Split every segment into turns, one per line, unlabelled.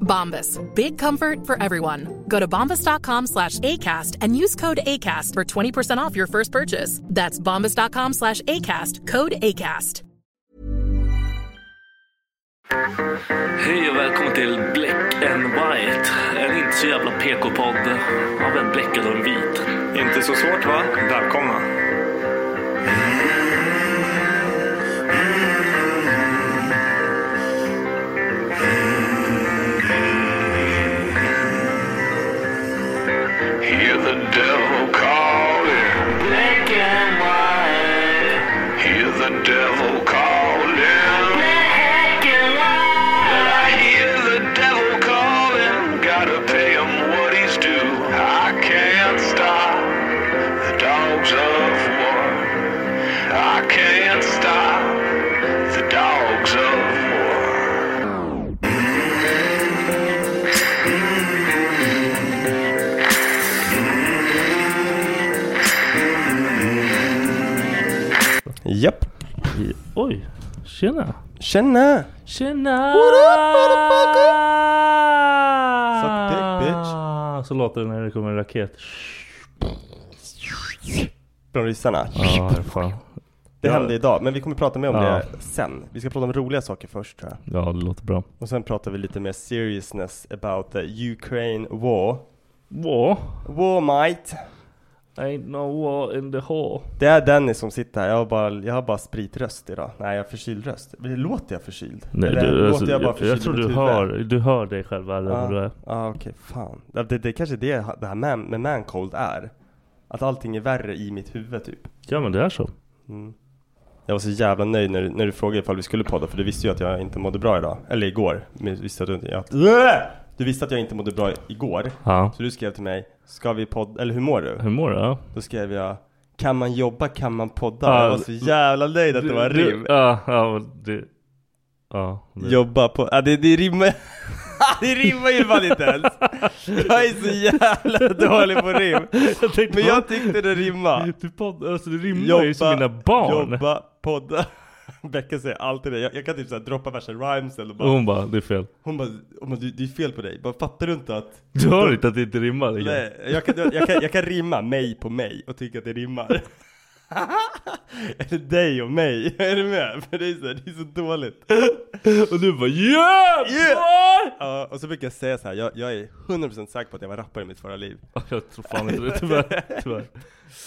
Bombas. Big comfort for everyone. Go to bombas.com slash ACAST and use code ACAST for 20% off your first purchase. That's bombas.com slash ACAST. Code ACAST.
Hej och välkommen till Black and White. En inte så jävla PK-podd av en bläckad och en vit.
Inte så svårt va? Välkomna.
Hear the devil calling. Black and white. Hear the devil calling. Black and white. I hear the devil calling. Gotta pay him what he's due. I can't stop the dogs of war. I can't stop the dogs of war.
Japp.
Oj, tjena.
Tjena!
Tjena!
What up, motherfucker? Suck dick,
Så låter det när det kommer en raket.
Från ryssarna.
Ja, fan.
Det
Ja.
hände idag, men vi kommer prata mer om
Ja.
det sen. Vi ska prata om roliga saker först tror jag.
Ja, det låter bra.
Och sen pratar vi lite mer seriousness about the Ukraine war.
Wow.
War might.
Ain't no war in the hall.
Det är Denny som sitter här. Jag har bara, jag har bara spritröst idag. Nej, jag har förkyld röst. Låter jag förkyld?
Nej,
Eller
du,
låter
alltså,
jag bara
jag,
förkyld
jag tror
i mitt
du
huvud?
hör, du hör dig själv värre än vad du
Ja,
är.
ah, okej, fan. Ja, Det, det kanske är det det här med, med mancold är. Att allting är värre i mitt huvud typ.
Ja men det är så.
Mm. Jag var så jävla nöjd när, du- när du frågade ifall vi skulle podda för du visste ju att jag inte mådde bra idag. Eller igår. Men du visste att du, inte- att, du visste att jag inte mådde bra igår.
Ja.
Så du skrev till mig, ska vi podda, eller hur mår du?
Hur mår du? Ja.
Då skrev jag, kan man jobba kan man podda?
Ja,
jag var så jävla nöjd att det var
Du-
rim.
Ja, ja, men det, ja det,
Jobba på, ja det, det rimmar Det rimmar ju fan inte ens! Jag är så jävla dålig på rim!
jag tänkte
Men
bara-
jag tyckte det rimmade!
Du, podd, alltså, du rimmar ju som mina barn.
jobba, podda Becka säger alltid det, jag, jag kan typ såhär droppa värsta rhymes eller
Och
bara
hon bara, det är fel.
Hon bara, hon bara du, det är fel på dig, bara fattar du inte att
Du hör inte att det inte rimmar? Rickard?
Nej, jag kan, jag, jag, kan, jag kan rimma mig på mig och tycka att det rimmar Eller dig och mig, är du med? För det är så, det är så dåligt
Och du bara yeah! yeah!
Ja, och så brukar jag säga så här. Jag, jag är 100% säker på att jag var rappare
Alltså,
i mitt förra liv
Jag tror fan inte det, tyvärr. tyvärr.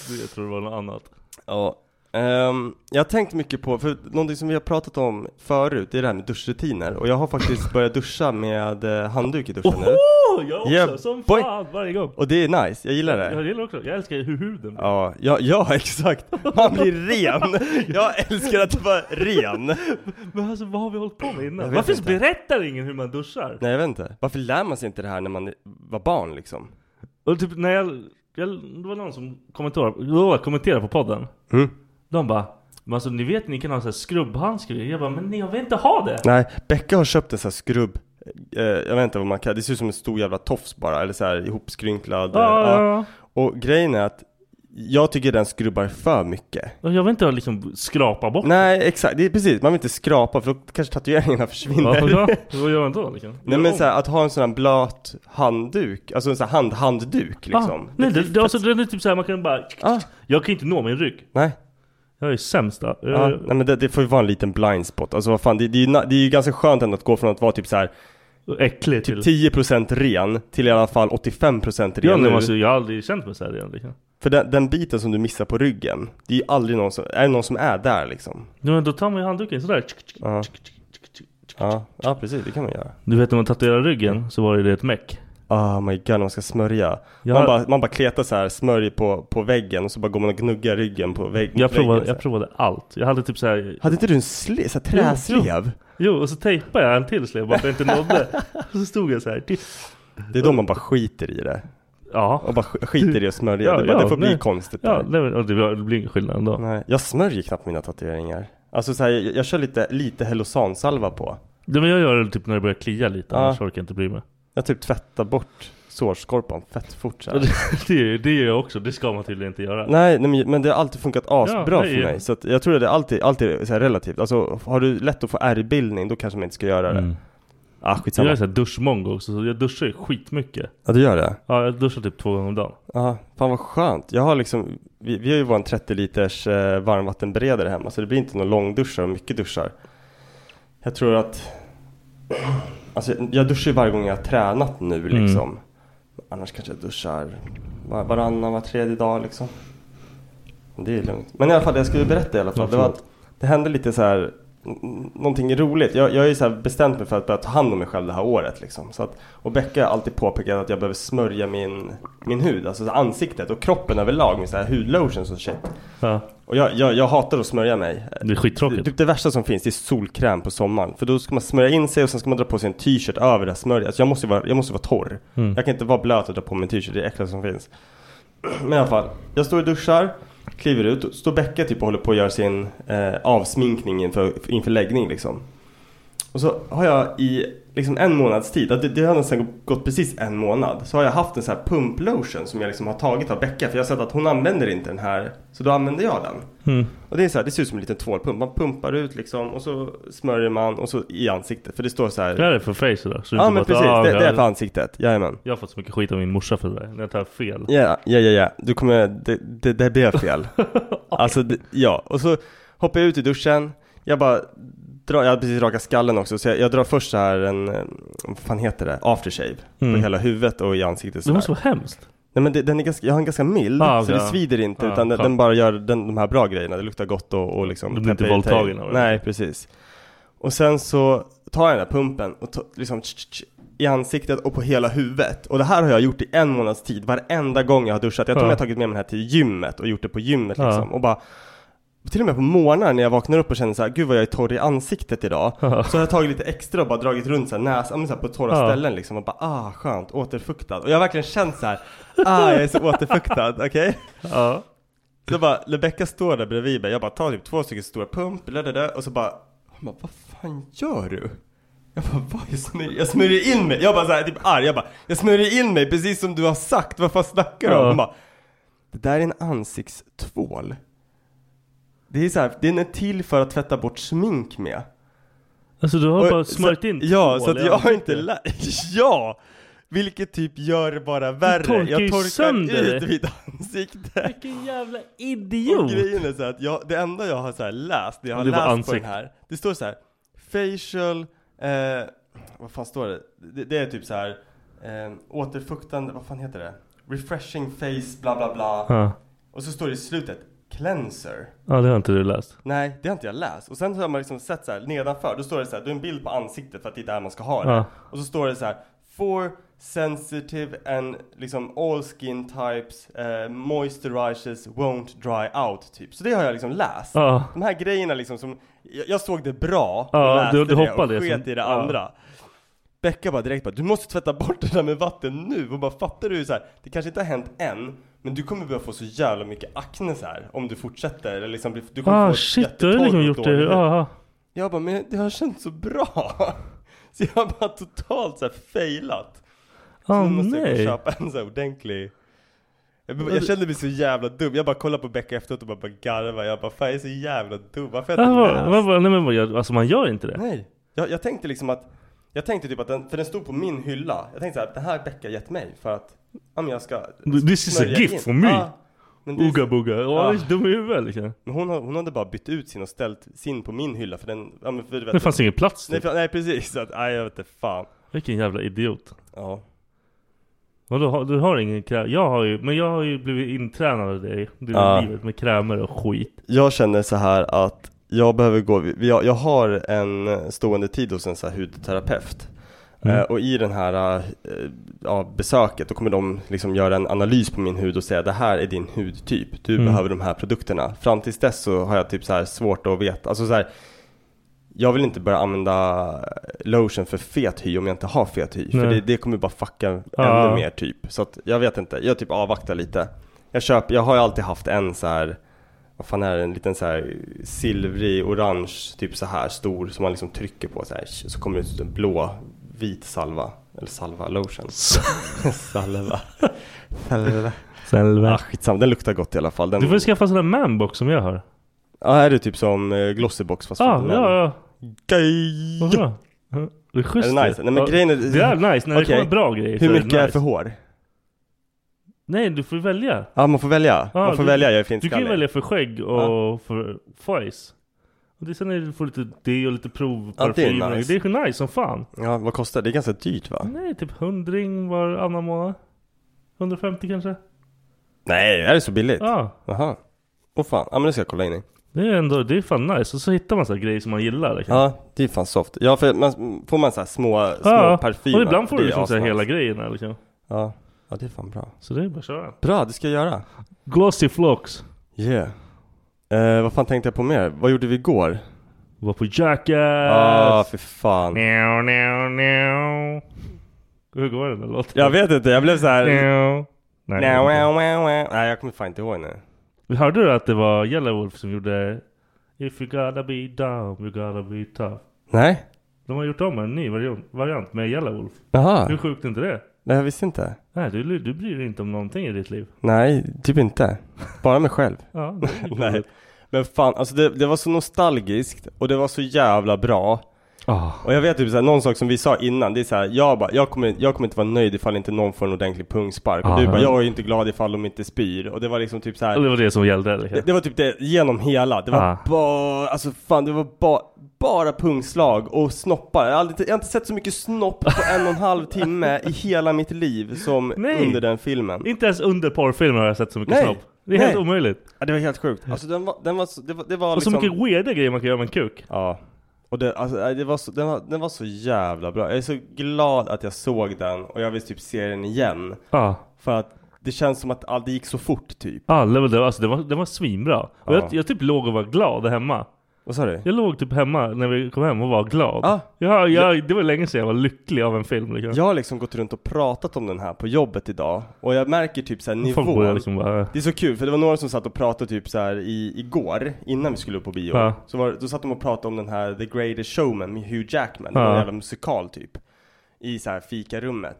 Du, Jag tror det var något annat.
Ja Ehm, jag har tänkt mycket på, för någonting som vi har pratat om förut, det är det här med duschrutiner. Och jag har faktiskt börjat duscha med eh, handduk i duschen nu.
Oho! Jag också,
Yeah,
som
boy.
fan varje gång.
Och det är nice, jag gillar det.
Jag gillar också, jag älskar hur huden blir.
Ja, ja, ja exakt. Man blir ren. Jag älskar att vara ren.
Men alltså vad har vi hållit på med
Jag
innan?
vet
Varför
inte.
berättar ingen hur man duschar?
Nej jag vet inte. Varför lär man sig inte det här när man var barn liksom?
Och typ när jag, jag det var någon som kommenterade, oh, kommenterade på podden.
Mm.
De bara, men alltså ni vet ni kan ha så här skrubbhandskar Jag bara, men nej, jag vill inte ha det!
Nej, Becka har köpt en sån här skrubb. Eh, jag vet inte vad man kan, det ser ut som en stor jävla tofs bara, eller så här ihopskrynklad. eh,
Ja, ja,
ja.
ja.
Och grejen är att jag tycker den skrubbar för mycket.
Och Jag vill inte ha liksom skrapa bort
Nej exakt, det är precis, man vill inte skrapa för då kanske tatueringarna
Varför
försvinner.
då? Vad gör man då liksom?
Nej men så här, att ha en sån här blöt handduk, alltså en sån här hand, handduk liksom.
ah, nej, det, det, alltså, det är typ såhär, man kan bara...
Ah.
Jag kan inte nå min rygg.
Nej.
Jag är eh, sämst där.
Ja,
Jag-
nej men det, det får ju vara en liten blind spot. Alltså vad fan, det, det, är, ju, na- det är ju ganska skönt ändå att gå från att vara typ så här
Äcklig
Typ
till...
10% ren till i alla fall 85%
Ja,
ren
men
nu.
alltså, jag har aldrig känt mig såhär igen liksom.
För den, den biten som du missar på ryggen, det är ju aldrig någon som, är det någon som är där liksom?
Ja, men då tar man ju handduken sådär.
Ja. Ja, ja precis, det kan man göra.
Du vet när man tatuerar ryggen så var det ett meck.
Oh my god, när man ska smörja.
Jag-
Man, bara, man bara kletar så här smörj på, på väggen och så bara går man och gnuggar ryggen på vägg,
Jag provade,
väggen. så
jag
här.
provade allt. Jag hade typ såhär...
Hade inte du en sle, så här träslev?
Jo, och så tejpade jag en till slev bara för jag inte nådde. Och så stod jag såhär. typ.
Det är då man bara skiter i det.
Ja.
Och bara sk- skiter i att smörja. det, bara,
ja,
det får bli
nej.
konstigt.
Ja,
där.
nej, men- och det, var- det blir ingen skillnad ändå.
Nej, jag smörjer knappt mina tatueringar. Alltså så här, jag, jag kör lite, lite Hellosansalva på.
Nej, men jag gör det typ när det börjar klia lite,
Ja.
annars orkar jag inte bry mig.
Jag typ tvättar bort sårskorpan fett fort så här.
Det, det gör jag också, det ska man tydligen inte göra.
Nej, nej, men- men det har alltid funkat asbra
Ja, nej.
för mig. Så att jag tror att det är alltid, alltid är så här relativt. Alltså har du lätt att få ärrbildning, då kanske man inte ska göra det.
Mm.
Ah,
Jag
skitsamma.
är såhär duschmongo också, så jag duschar ju skitmycket.
Ja, du gör det?
Ja, jag duschar typ två gånger om dagen.
Ja, fan vad skönt. Jag har liksom, vi, vi har ju vår 30 liters eh, varmvattenberedare hemma, så det blir inte någon långduschar och mycket duschar. Jag tror att, alltså jag duschar ju varje gång jag har tränat
Mm.
nu liksom. Annars kanske jag duschar var, varannan, var tredje dag liksom. Men Det är lugnt. Men i alla fall, det jag skulle berätta i alla fall,
Ja,
det var
förlåt.
att det hände lite så här n- någonting roligt. Jag, jag är ju så här bestämt mig för att börja ta hand om mig själv det här året liksom. Så att, och Becka har alltid påpekat att jag behöver smörja min, min hud, alltså så här ansiktet och kroppen överlag med så här hudlotions och shit.
Ja,
Och jag, jag, jag hatar att smörja mig.
det är
Det,
skittråkigt.
typ det värsta som finns det är solkräm på sommaren. För då ska man smörja in sig och sen ska man dra på sig en t-shirt över det här smörjet. Alltså jag måste ju vara, jag måste vara torr.
Mm.
Jag kan inte vara blöt och dra på mig en t-shirt, det är det äckligaste som finns. Men i alla fall, jag står och duschar, kliver ut, och står Becka typ och håller på att göra sin eh, avsminkning inför, inför läggning liksom. Och så har jag i liksom en månads tid, det, det har nästan gått precis en månad, så har jag haft en sån här pumplotion som jag liksom har tagit av Becka för jag har sett att hon använder inte den här, så då använder jag den.
Mm.
Och det är så här, det ser ut som en liten tvålpump. Man pumpar ut liksom och så smörjer man och så i ansiktet. För det står så här.
Det här är för face sådär. Så det är
ja
inte
men
bara
precis,
att, ah,
det, det är
jag-
för ansiktet. Jajamän.
Jag har fått så mycket skit av min morsa för det där, när jag tar fel.
Ja, ja, ja, ja. Du kommer, det, det, det blev fel. Alltså, det, ja. Och så hoppar jag ut i duschen. Jag bara drar, jag har precis rakat skallen också. Så jag, jag drar först så här en, eh, vad fan heter det? Aftershave.
Mm.
På hela huvudet och i ansiktet så
Det
här.
måste vara hemskt.
Nej men det, den är ganska, jag har en ganska mild.
Ah,
så
okej,
det
ja.
svider inte.
Ja,
utan den,
skönt.
den bara gör den, de här bra grejerna. Det luktar gott och, och liksom.
Du blir inte
täpper i
våldtagen
tejp.
av det.
Nej precis. Och sen så tar jag den där pumpen och ta, liksom tsch, tsch, tsch, i ansiktet och på hela huvudet. Och det här har jag gjort i en månads tid. Varenda gång jag har duschat. Jag tror
Ja.
jag har tagit med mig den här till gymmet och gjort det på gymmet
Ja.
liksom. Och bara till och med på morgnar när jag vaknar upp och känner så här, gud vad jag är torr i ansiktet idag.
Ja.
Så har jag tagit lite extra och bara dragit runt så här näs, ja, men så här på torra
Ja.
ställen liksom och bara ah skönt, återfuktad. Och jag har verkligen känt så här, ah jag är så återfuktad, okej?
Ja.
Så bara, Rebecca står där bredvid mig, jag bara tar typ två stycken stora pump, ladada, och så bara, hon bara, vad fan gör du? Jag bara, vad? Jag smörjer, jag smörjer in mig! Jag bara såhär, typ arg, jag bara, jag smörjer in mig precis som du har sagt, vad fan snackar du om?
Ja.
Hon bara, det där är en ansiktstvål. Det är såhär, den är till för att tvätta bort smink med.
Alltså du har
Och-
bara smörjt
så,
in
Ja,
tvål
så att
i
jag har
ansiktet.
inte lärt... Ja! Vilket typ gör det bara värre.
torkar ju
jag
sönder
torkar ut
det.
mitt ansikte.
Vilken jävla
Och
idiot!
grejen är så här att jag, det enda jag har så här läst, det jag har
Det var
läst på den
ansikt.
här, det står så här facial, eh, vad fan står det? Det, det är typ så här eh, återfuktande, vad fan heter det? Refreshing face, bla bla bla.
Ja.
Och så står det i slutet, cleanser.
Ja, det har inte du läst.
Nej, det har inte jag läst. Och sen så har man liksom sett så här nedanför, då står det så här, då är en bild på ansiktet för att det är där man ska ha det.
Ja.
Och så står det så här, for sensitive and liksom all skin types, eh, moisturizes won't dry out typ. Så det har jag liksom läst.
Ja.
De här grejerna liksom som, jag, jag såg det bra och
Ja,
läste
du- du
det
hoppade
och sket
liksom.
i det
Ja.
andra. Becka bara direkt bara, du måste tvätta bort det där med vatten nu och bara fattar du så här, det kanske inte har hänt än men du kommer börja få så jävla mycket akne så här om du fortsätter eller liksom bli, du kommer
Ah
få
shit, du har ju liksom gjort det. Aha.
Jag bara, men det har känts så bra Så jag har bara totalt så här failat Så
Ah,
nu måste jag
nej.
gå och köpa en så här ordentlig jag, bara- jag kände mig så jävla dum, jag bara kollade på Becka efteråt och bara, bara garvade Jag bara, fan jag är så jävla dum, varför har jag
Ah,
inte
vad,
läst?
vad, vad, nej, men vad, gör- alltså man gör inte det.
Nej, jag, jag tänkte liksom att Jag tänkte typ att den, för den stod på min hylla Jag tänkte så här, den här Becka har gett mig för att Ja men jag ska
This is a
smörja
gift
in. Ah.
for me.
Ja, men det är-
Ooga booga. Ja,
Ja.
det är dum i huvudet liksom.
Men hon, har- hon hade bara bytt ut sin och ställt sin på min hylla för den ja, men för, du vet,
Det fanns ingen plats
nej,
typ.
för, nej precis, så att, nej jag vet inte fan
Vilken jävla idiot.
Ja
Vadå, har- du har ingen kräm? Jag har ju, men jag har ju blivit intränad av dig. Du
Ja.
livet med krämer och skit.
Jag känner så här att jag behöver gå, vi- jag, jag har en stående tid hos en så här hudterapeut
Mm.
eh, och i den här eh, ja, besöket då kommer de liksom göra en analys på min hud och säga det här är din hudtyp, du
Mm.
behöver de här produkterna. Fram tills dess så har jag typ så här svårt att veta, alltså så här, jag vill inte börja använda lotion för fet hy om jag inte har fet hy. För
Nej.
det, det kommer bara fucka
Ja.
ännu mer typ. Så att jag vet inte, jag typ avvaktar lite. Jag köper, jag har ju alltid haft en så här vad fan är det, en liten så här silvrig orange typ så här stor som man liksom trycker på så här så kommer det ut en blå vit salva eller salva lotion. salva. salva.
Selva.
Ah, skitsamma, den luktar gott i alla fall. Den,
Du får skaffa en sån där manbox som jag har.
Ja, är det typ som eh, Glossybox fast
Ah,
för män?
ja, ja.
Gay.
Vad bra. Det är schysst
Är det nice?
ju.
Nej, men
Ja,
grejen är-
Det är nice när det
Okej.
kommer bra grejer. så
Hur mycket
det
är
nice.
för hår?
Nej, du får välja.
Ja, man får välja.
Ja,
man får
Ah, du-
välja, jag är
Du kan ju
finskallig.
välja för skägg och för face. Och det, sen är det, får du lite det och lite
Ja, det är
provparfym. och-
nice.
det är ju nice som fan.
Ja, vad kostar det? Det är ganska dyrt va?
Nej, typ hundring varannan månad. 150 kanske?
Nej, är det så billigt?
Ja,
Jaha. Åh fan, ja men det ska jag kolla in i.
det är ändå, det är fan nice. Och så hittar man så här grejer som man gillar. liksom.
Ja, det är fan soft. Ja, för man, får man så här små, små parfymer.
Och ibland får du
det är alltså.
liksom så här
asnice.
hela grejerna liksom.
Ja. ja, det är fan bra.
Så det är bara att köra.
Bra, det ska jag göra.
Glossy Flocks.
Yeah. Eh, vad fan tänkte jag på mer? Vad gjorde vi igår?
Var på Jackass.
Ah, för fan.
Nja, nja, nja. Hur går den där låten?
Jag vet inte, jag blev så här.
Nja. Nej,
Nej,
jag vet
wow, wow, wow. Nej, jag kommer fan inte ihåg nu.
inte. Hörde du att det var Yellow Wolf som gjorde If you gotta be dumb, you gotta be tough.
Nej?
De har gjort om en ny variant- variant med Yellow Wolf. Hur
Jaha.
sjukt är inte det?
Nej, jag visste inte.
Nej, du, du bryr dig inte om någonting i ditt liv.
Nej, typ inte. Bara mig själv.
Ja, det är inget
Nej.
roligt.
Men fan, alltså det, det var så nostalgiskt och det var så jävla bra. Och jag vet typ såhär, någon sak som vi sa innan, det är såhär, jag bara, jag kommer, jag kommer inte vara nöjd ifall inte någon får en ordentlig pungspark. Och
Ja,
du bara,
ja.
jag är ju inte glad ifall de inte spyr. Och det var liksom typ
Och
såhär,
Det var det som gällde.
det,
Liksom.
det var typ det genom hela. Det var
Ja.
bara, alltså fan det var bara, bara pungslag och snoppar. Jag har, aldrig, jag har inte sett så mycket snopp på en och en halv timme i hela mitt liv som
Nej.
under den filmen.
Inte ens under porrfilmer har jag sett så mycket
Nej.
snopp. Det är
Nej.
helt omöjligt.
Ja, det var helt sjukt. Alltså den var, den var, så- det var, det var
Och så
liksom...
mycket weirda grejer man kan göra med en kuk.
Ja. Och det, alltså, nej, det var så, den, var, den var så jävla bra. Jag är så glad att jag såg den och jag vill typ se den igen.
Ja.
För att det känns som att all, det gick så fort typ.
Ja, det var, det var- alltså, det var, det var svinbra. Och
Ja.
jag, jag typ låg och var glad hemma.
Vad sa du?
Jag låg typ hemma när vi kom hem och var glad.
Ah. Ja.
Ja, jag, det var länge sedan jag var lycklig av en film. Liksom.
Jag har liksom gått runt och pratat om den här på jobbet idag. Och jag märker typ såhär
Folk började
nivån.
liksom bara...
Det är så kul för det var några som satt och pratade typ så här i, igår innan vi skulle upp på bio.
Ja.
Så var, då satt de och pratade om den här The Greatest Showman med Hugh Jackman. Det
Ja.
var en jävla musikal typ. I så här fikarummet.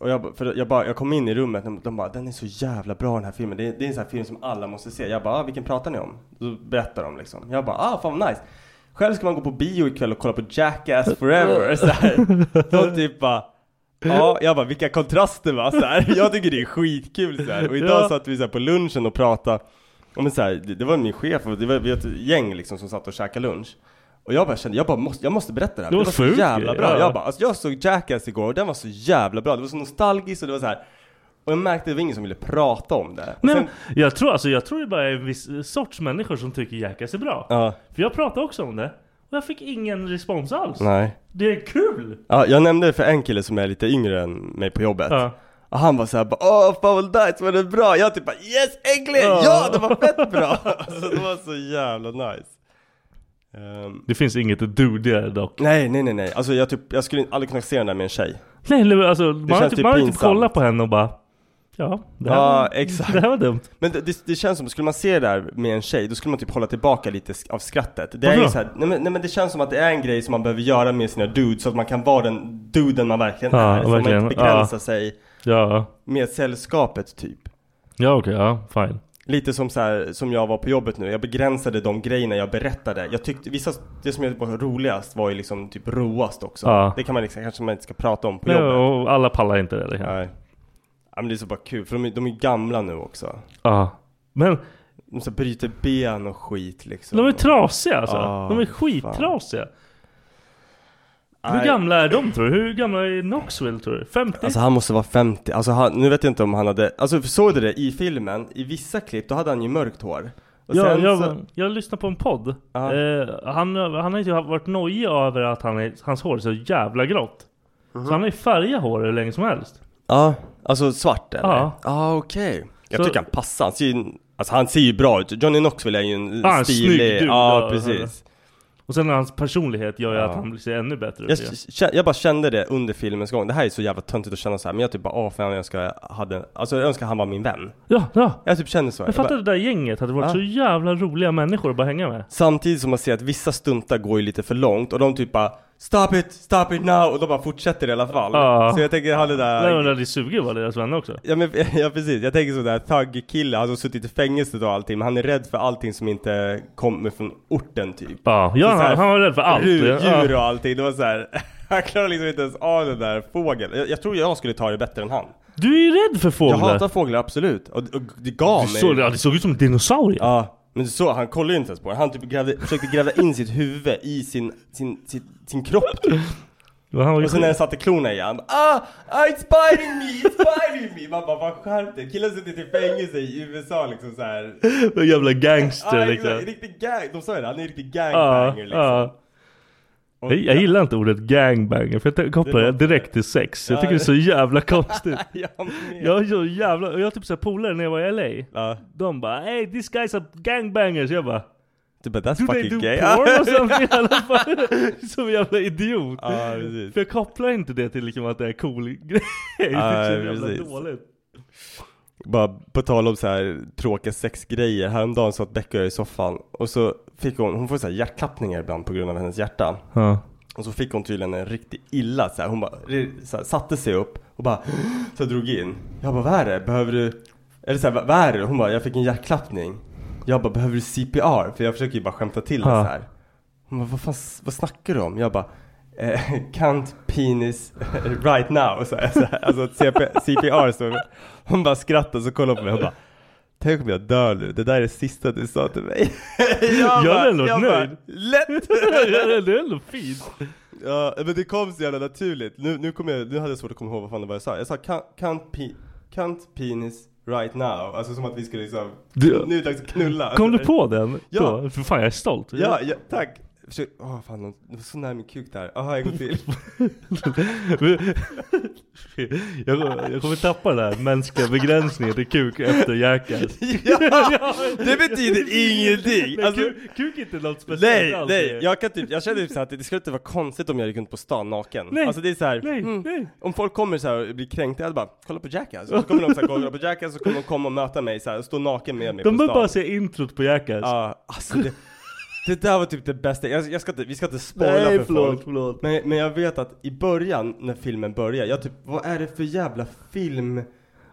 Och jag, ba- för jag, bara, jag kom in i rummet och de bara den är så jävla bra den här filmen. Det, är- det är en sån här film som alla måste se. Jag bara ah, vilken pratar ni om? Då berättar de liksom. Jag bara ah fan vad nice. Själv ska man gå på bio ikväll och kolla på Jackass Forever. Så här. De typ bara Ja, jag bara vilka kontraster va? Så här. Jag tycker det är skitkul så här. Och idag
Ja.
satt vi så här på lunchen och pratade och men så här, det, det var min chef och det var, vi var ett gäng liksom som satt och käkade lunch Och jag bara kände, jag bara måste, jag måste berätta det här
Det
för
var
så
sjukt
jävla
ju,
bra
ja.
Jag bara, alltså jag såg Jackass igår och den var så jävla bra Det var så nostalgiskt och det var så här Och jag märkte att det var ingen som ville prata om det.
Nej, men jag, tror, alltså, jag tror det bara är en viss sorts människor som tycker jackass är bra.
Ja.
För jag pratade också om det. Och jag fick ingen respons alls.
Nej.
Det är kul!
Ja, jag nämnde det för en kille som är lite yngre än mig på jobbet.
Ja.
Och han var såhär bara Åh, fan vad nice, var det bra? Jag typ bara Yes, äntligen!
Ja.
Ja. det var fett bra! alltså, det var så jävla nice. Ehm,
Det finns inget dudigare dock.
nej, nej, nej, nej. Alltså jag, typ, jag skulle aldrig kunna se den där med en tjej.
Nej, eller, alltså, man har
känns
typ,
typ
man har typ
pinsamt.
kollat på henne och bara Ja, det här,
Ja,
var,
exakt.
det här var dumt.
Men det, det, det känns som, skulle man se det där med en tjej, då skulle man typ hålla tillbaka lite sk- av skrattet. Det är
Varför
ju
då?
så här, nej, men, nej men det känns som att det är en grej som man behöver göra med sina dudes, så att man kan vara den duden man verkligen
Ja,
är. Så
verkligen.
man inte begränsar
Ja.
sig
Ja,
med sällskapet typ.
ja okej, ja fine.
Lite som så här, som jag var på jobbet nu, jag begränsade de grejerna jag berättade. Jag tyckte, vissa, det som jag var roligast var ju liksom typ roast också.
Ja.
Det kan man liksom, kanske man inte ska prata om på
Nej,
jobbet.
och alla pallar inte det. liksom. det kan-
Nej. Ja men det är så bara kul, för de, är- de är gamla nu också.
Ja. Ah. Men
De så här bryter ben och skit liksom.
de är trasiga alltså.
Ja,
de är
Ah, fan.
skittrasiga. Hur
Nej.
gamla är de tror du? Hur gamla är Knoxville tror du? 50?
Alltså han måste vara 50, alltså han, nu vet jag inte om han hade, alltså såg du det i filmen? I vissa klipp då hade han ju mörkt hår. Och
ja,
sen
jag,
så,
jag lyssnade på en podd.
Ja.
Eh, han, han har ju typ varit nojig över att han är, hans hår är så jävla grått. Så han har ju färgat hår hur länge som helst.
ja, alltså svart eller?
Ja.
ah, okej. Jag
Så-
tycker han passar, han ser ju, alltså han ser ju bra ut. Johnny Knoxville är ju en
Ja, en Ah, snygg
stilig,
dude,
ja
ja.
precis.
Och sen hans personlighet gör ju
Ja.
att han ser ännu bättre
Jag,
ut. ju.
k- jag bara kände det under filmens gång, det här är så jävla töntigt att känna så här, men jag typ bara åh fan jag önskar jag hade, alltså jag önskar han var min vän.
Ja, ja.
Jag typ kände så.
Jag
bara-
fattar det där gänget hade varit
Ja.
så jävla roliga människor att bara hänga med.
Samtidigt som man ser att vissa stuntar går ju lite för långt och de typ bara Stop it, stop it now! Och de bara fortsätter i alla fall.
Ja.
Så jag tänker han det
Nej men
där...
det hade suger att vara deras vänner också.
Ja, men, ja precis, jag tänker sådär thug-kille, han har suttit i fängelset och allting men han är rädd för allting som inte kommer från orten typ.
Ja, ja
Så så här,
han, han var rädd för allt. Ja.
Rovdjur och allting, det var såhär... Han klarar liksom inte ens av den där fågeln. Jag, jag tror jag skulle ta det bättre än han.
Du är ju rädd för
Jag
fåglar.
hatar fåglar absolut. Och, och det gav
du
mig...
såg, ja, det såg ut som en dinosaurie.
Ja, men så, han kollade ju inte ens på det. Han typ grävde, försökte gräva in sitt huvud i sin, sin, sin, sin kropp typ.
Men Han var ju
Och sen när den satte klorna i han bara, ah, ah, it's biting me, it's biting me! Man bara, fan skärp dig! Killen sitter i fängelse i USA liksom såhär.
en jävla gangster
Ah,
liksom.
liksom. riktig gang, de sa ju det, han är en riktig
Ja,
gangbanger liksom.
ja.
Och,
Jag, jag gillar inte ordet gangbanger för jag kopplar det direkt till sex. Jag
Ja,
tycker det är så jävla konstigt.
Ja, men-
Jag är så jävla, och jag har typ såhär polare när jag var i LA.
Ja.
De bara hey this guy's a gangbanger. Så jag bara
Du bara,
do
that's
they do
fucking gay.
porn och sånt i alla fall? Som en jävla idiot.
Ja, precis.
För jag kopplar inte det till liksom att det är cool grej. Det är så jävla
precis.
dåligt.
Bara på tal om så här tråkiga sexgrejer, häromdagen satt Becka och jag i soffan och så fick hon, hon får så här hjärtklappningar ibland på grund av hennes hjärta.
Ja.
Och så fick hon tydligen en riktigt illa så här. Hon bara, re- så här, satte sig upp och bara så här, drog in. Jag bara, vad är det? Behöver du? Eller så här, "Vad- vad är det? Hon bara, jag fick en hjärtklappning. Jag bara, behöver du CPR? För jag försöker ju bara skämta till henne
Ja.
så här. Hon bara, vad fan, s- vad snackar du om? Jag bara, eh, can't penis right now. Så här, så här, alltså att CP, CPR står Hon bara skrattar så kollar hon på mig och bara, Tänk om jag dör nu, det där är det sista du sa till mig.
Jag
bara-
hade ändå varit
jag bara,
nöjd.
Lätt!
Ja, det är ändå fint.
Ja, men det kom så jävla naturligt. Nu, nu, kommer jag, nu hade jag svårt att komma ihåg vad fan det var jag sa. Jag sa "Can- can't, pe- can't penis right now. Alltså som att vi skulle liksom,
Du-
nu är det dags att knulla.
Kom du på den?
Alltså, Ja.
Då? För fan jag är stolt.
Ja, ja tack. Försök, åh fan, det var så nära min kuk där. Aha, en gång till.
jag, kommer- jag kommer tappa den här mänskliga begränsningen till kuk efter jackass.
ja, det betyder ingenting.
Nej,
Alltså,
kuk, kuk är inte något speciellt
nej,
alls.
nej. Jag kan typ, jag känner typ så här att det skulle inte vara konstigt om jag gick runt på stan naken.
Nej,
Alltså det är så här,
nej, nej.
Om folk kommer så här och blir kränkta, jag hade bara, kolla på Jackass. Och så kommer de så här, kolla på Jackass, så kommer de komma och möta mig så här, och stå naken med mig
De
på
behöver
stan.
bara se introt på jackass.
Ja, alltså det, det där var typ det bästa. Jag, jag ska inte, vi ska inte spoila
Nej,
för
förlåt,
folk.
förlåt.
Men, men jag vet att i början, när filmen börjar, jag typ, vad är det för jävla film?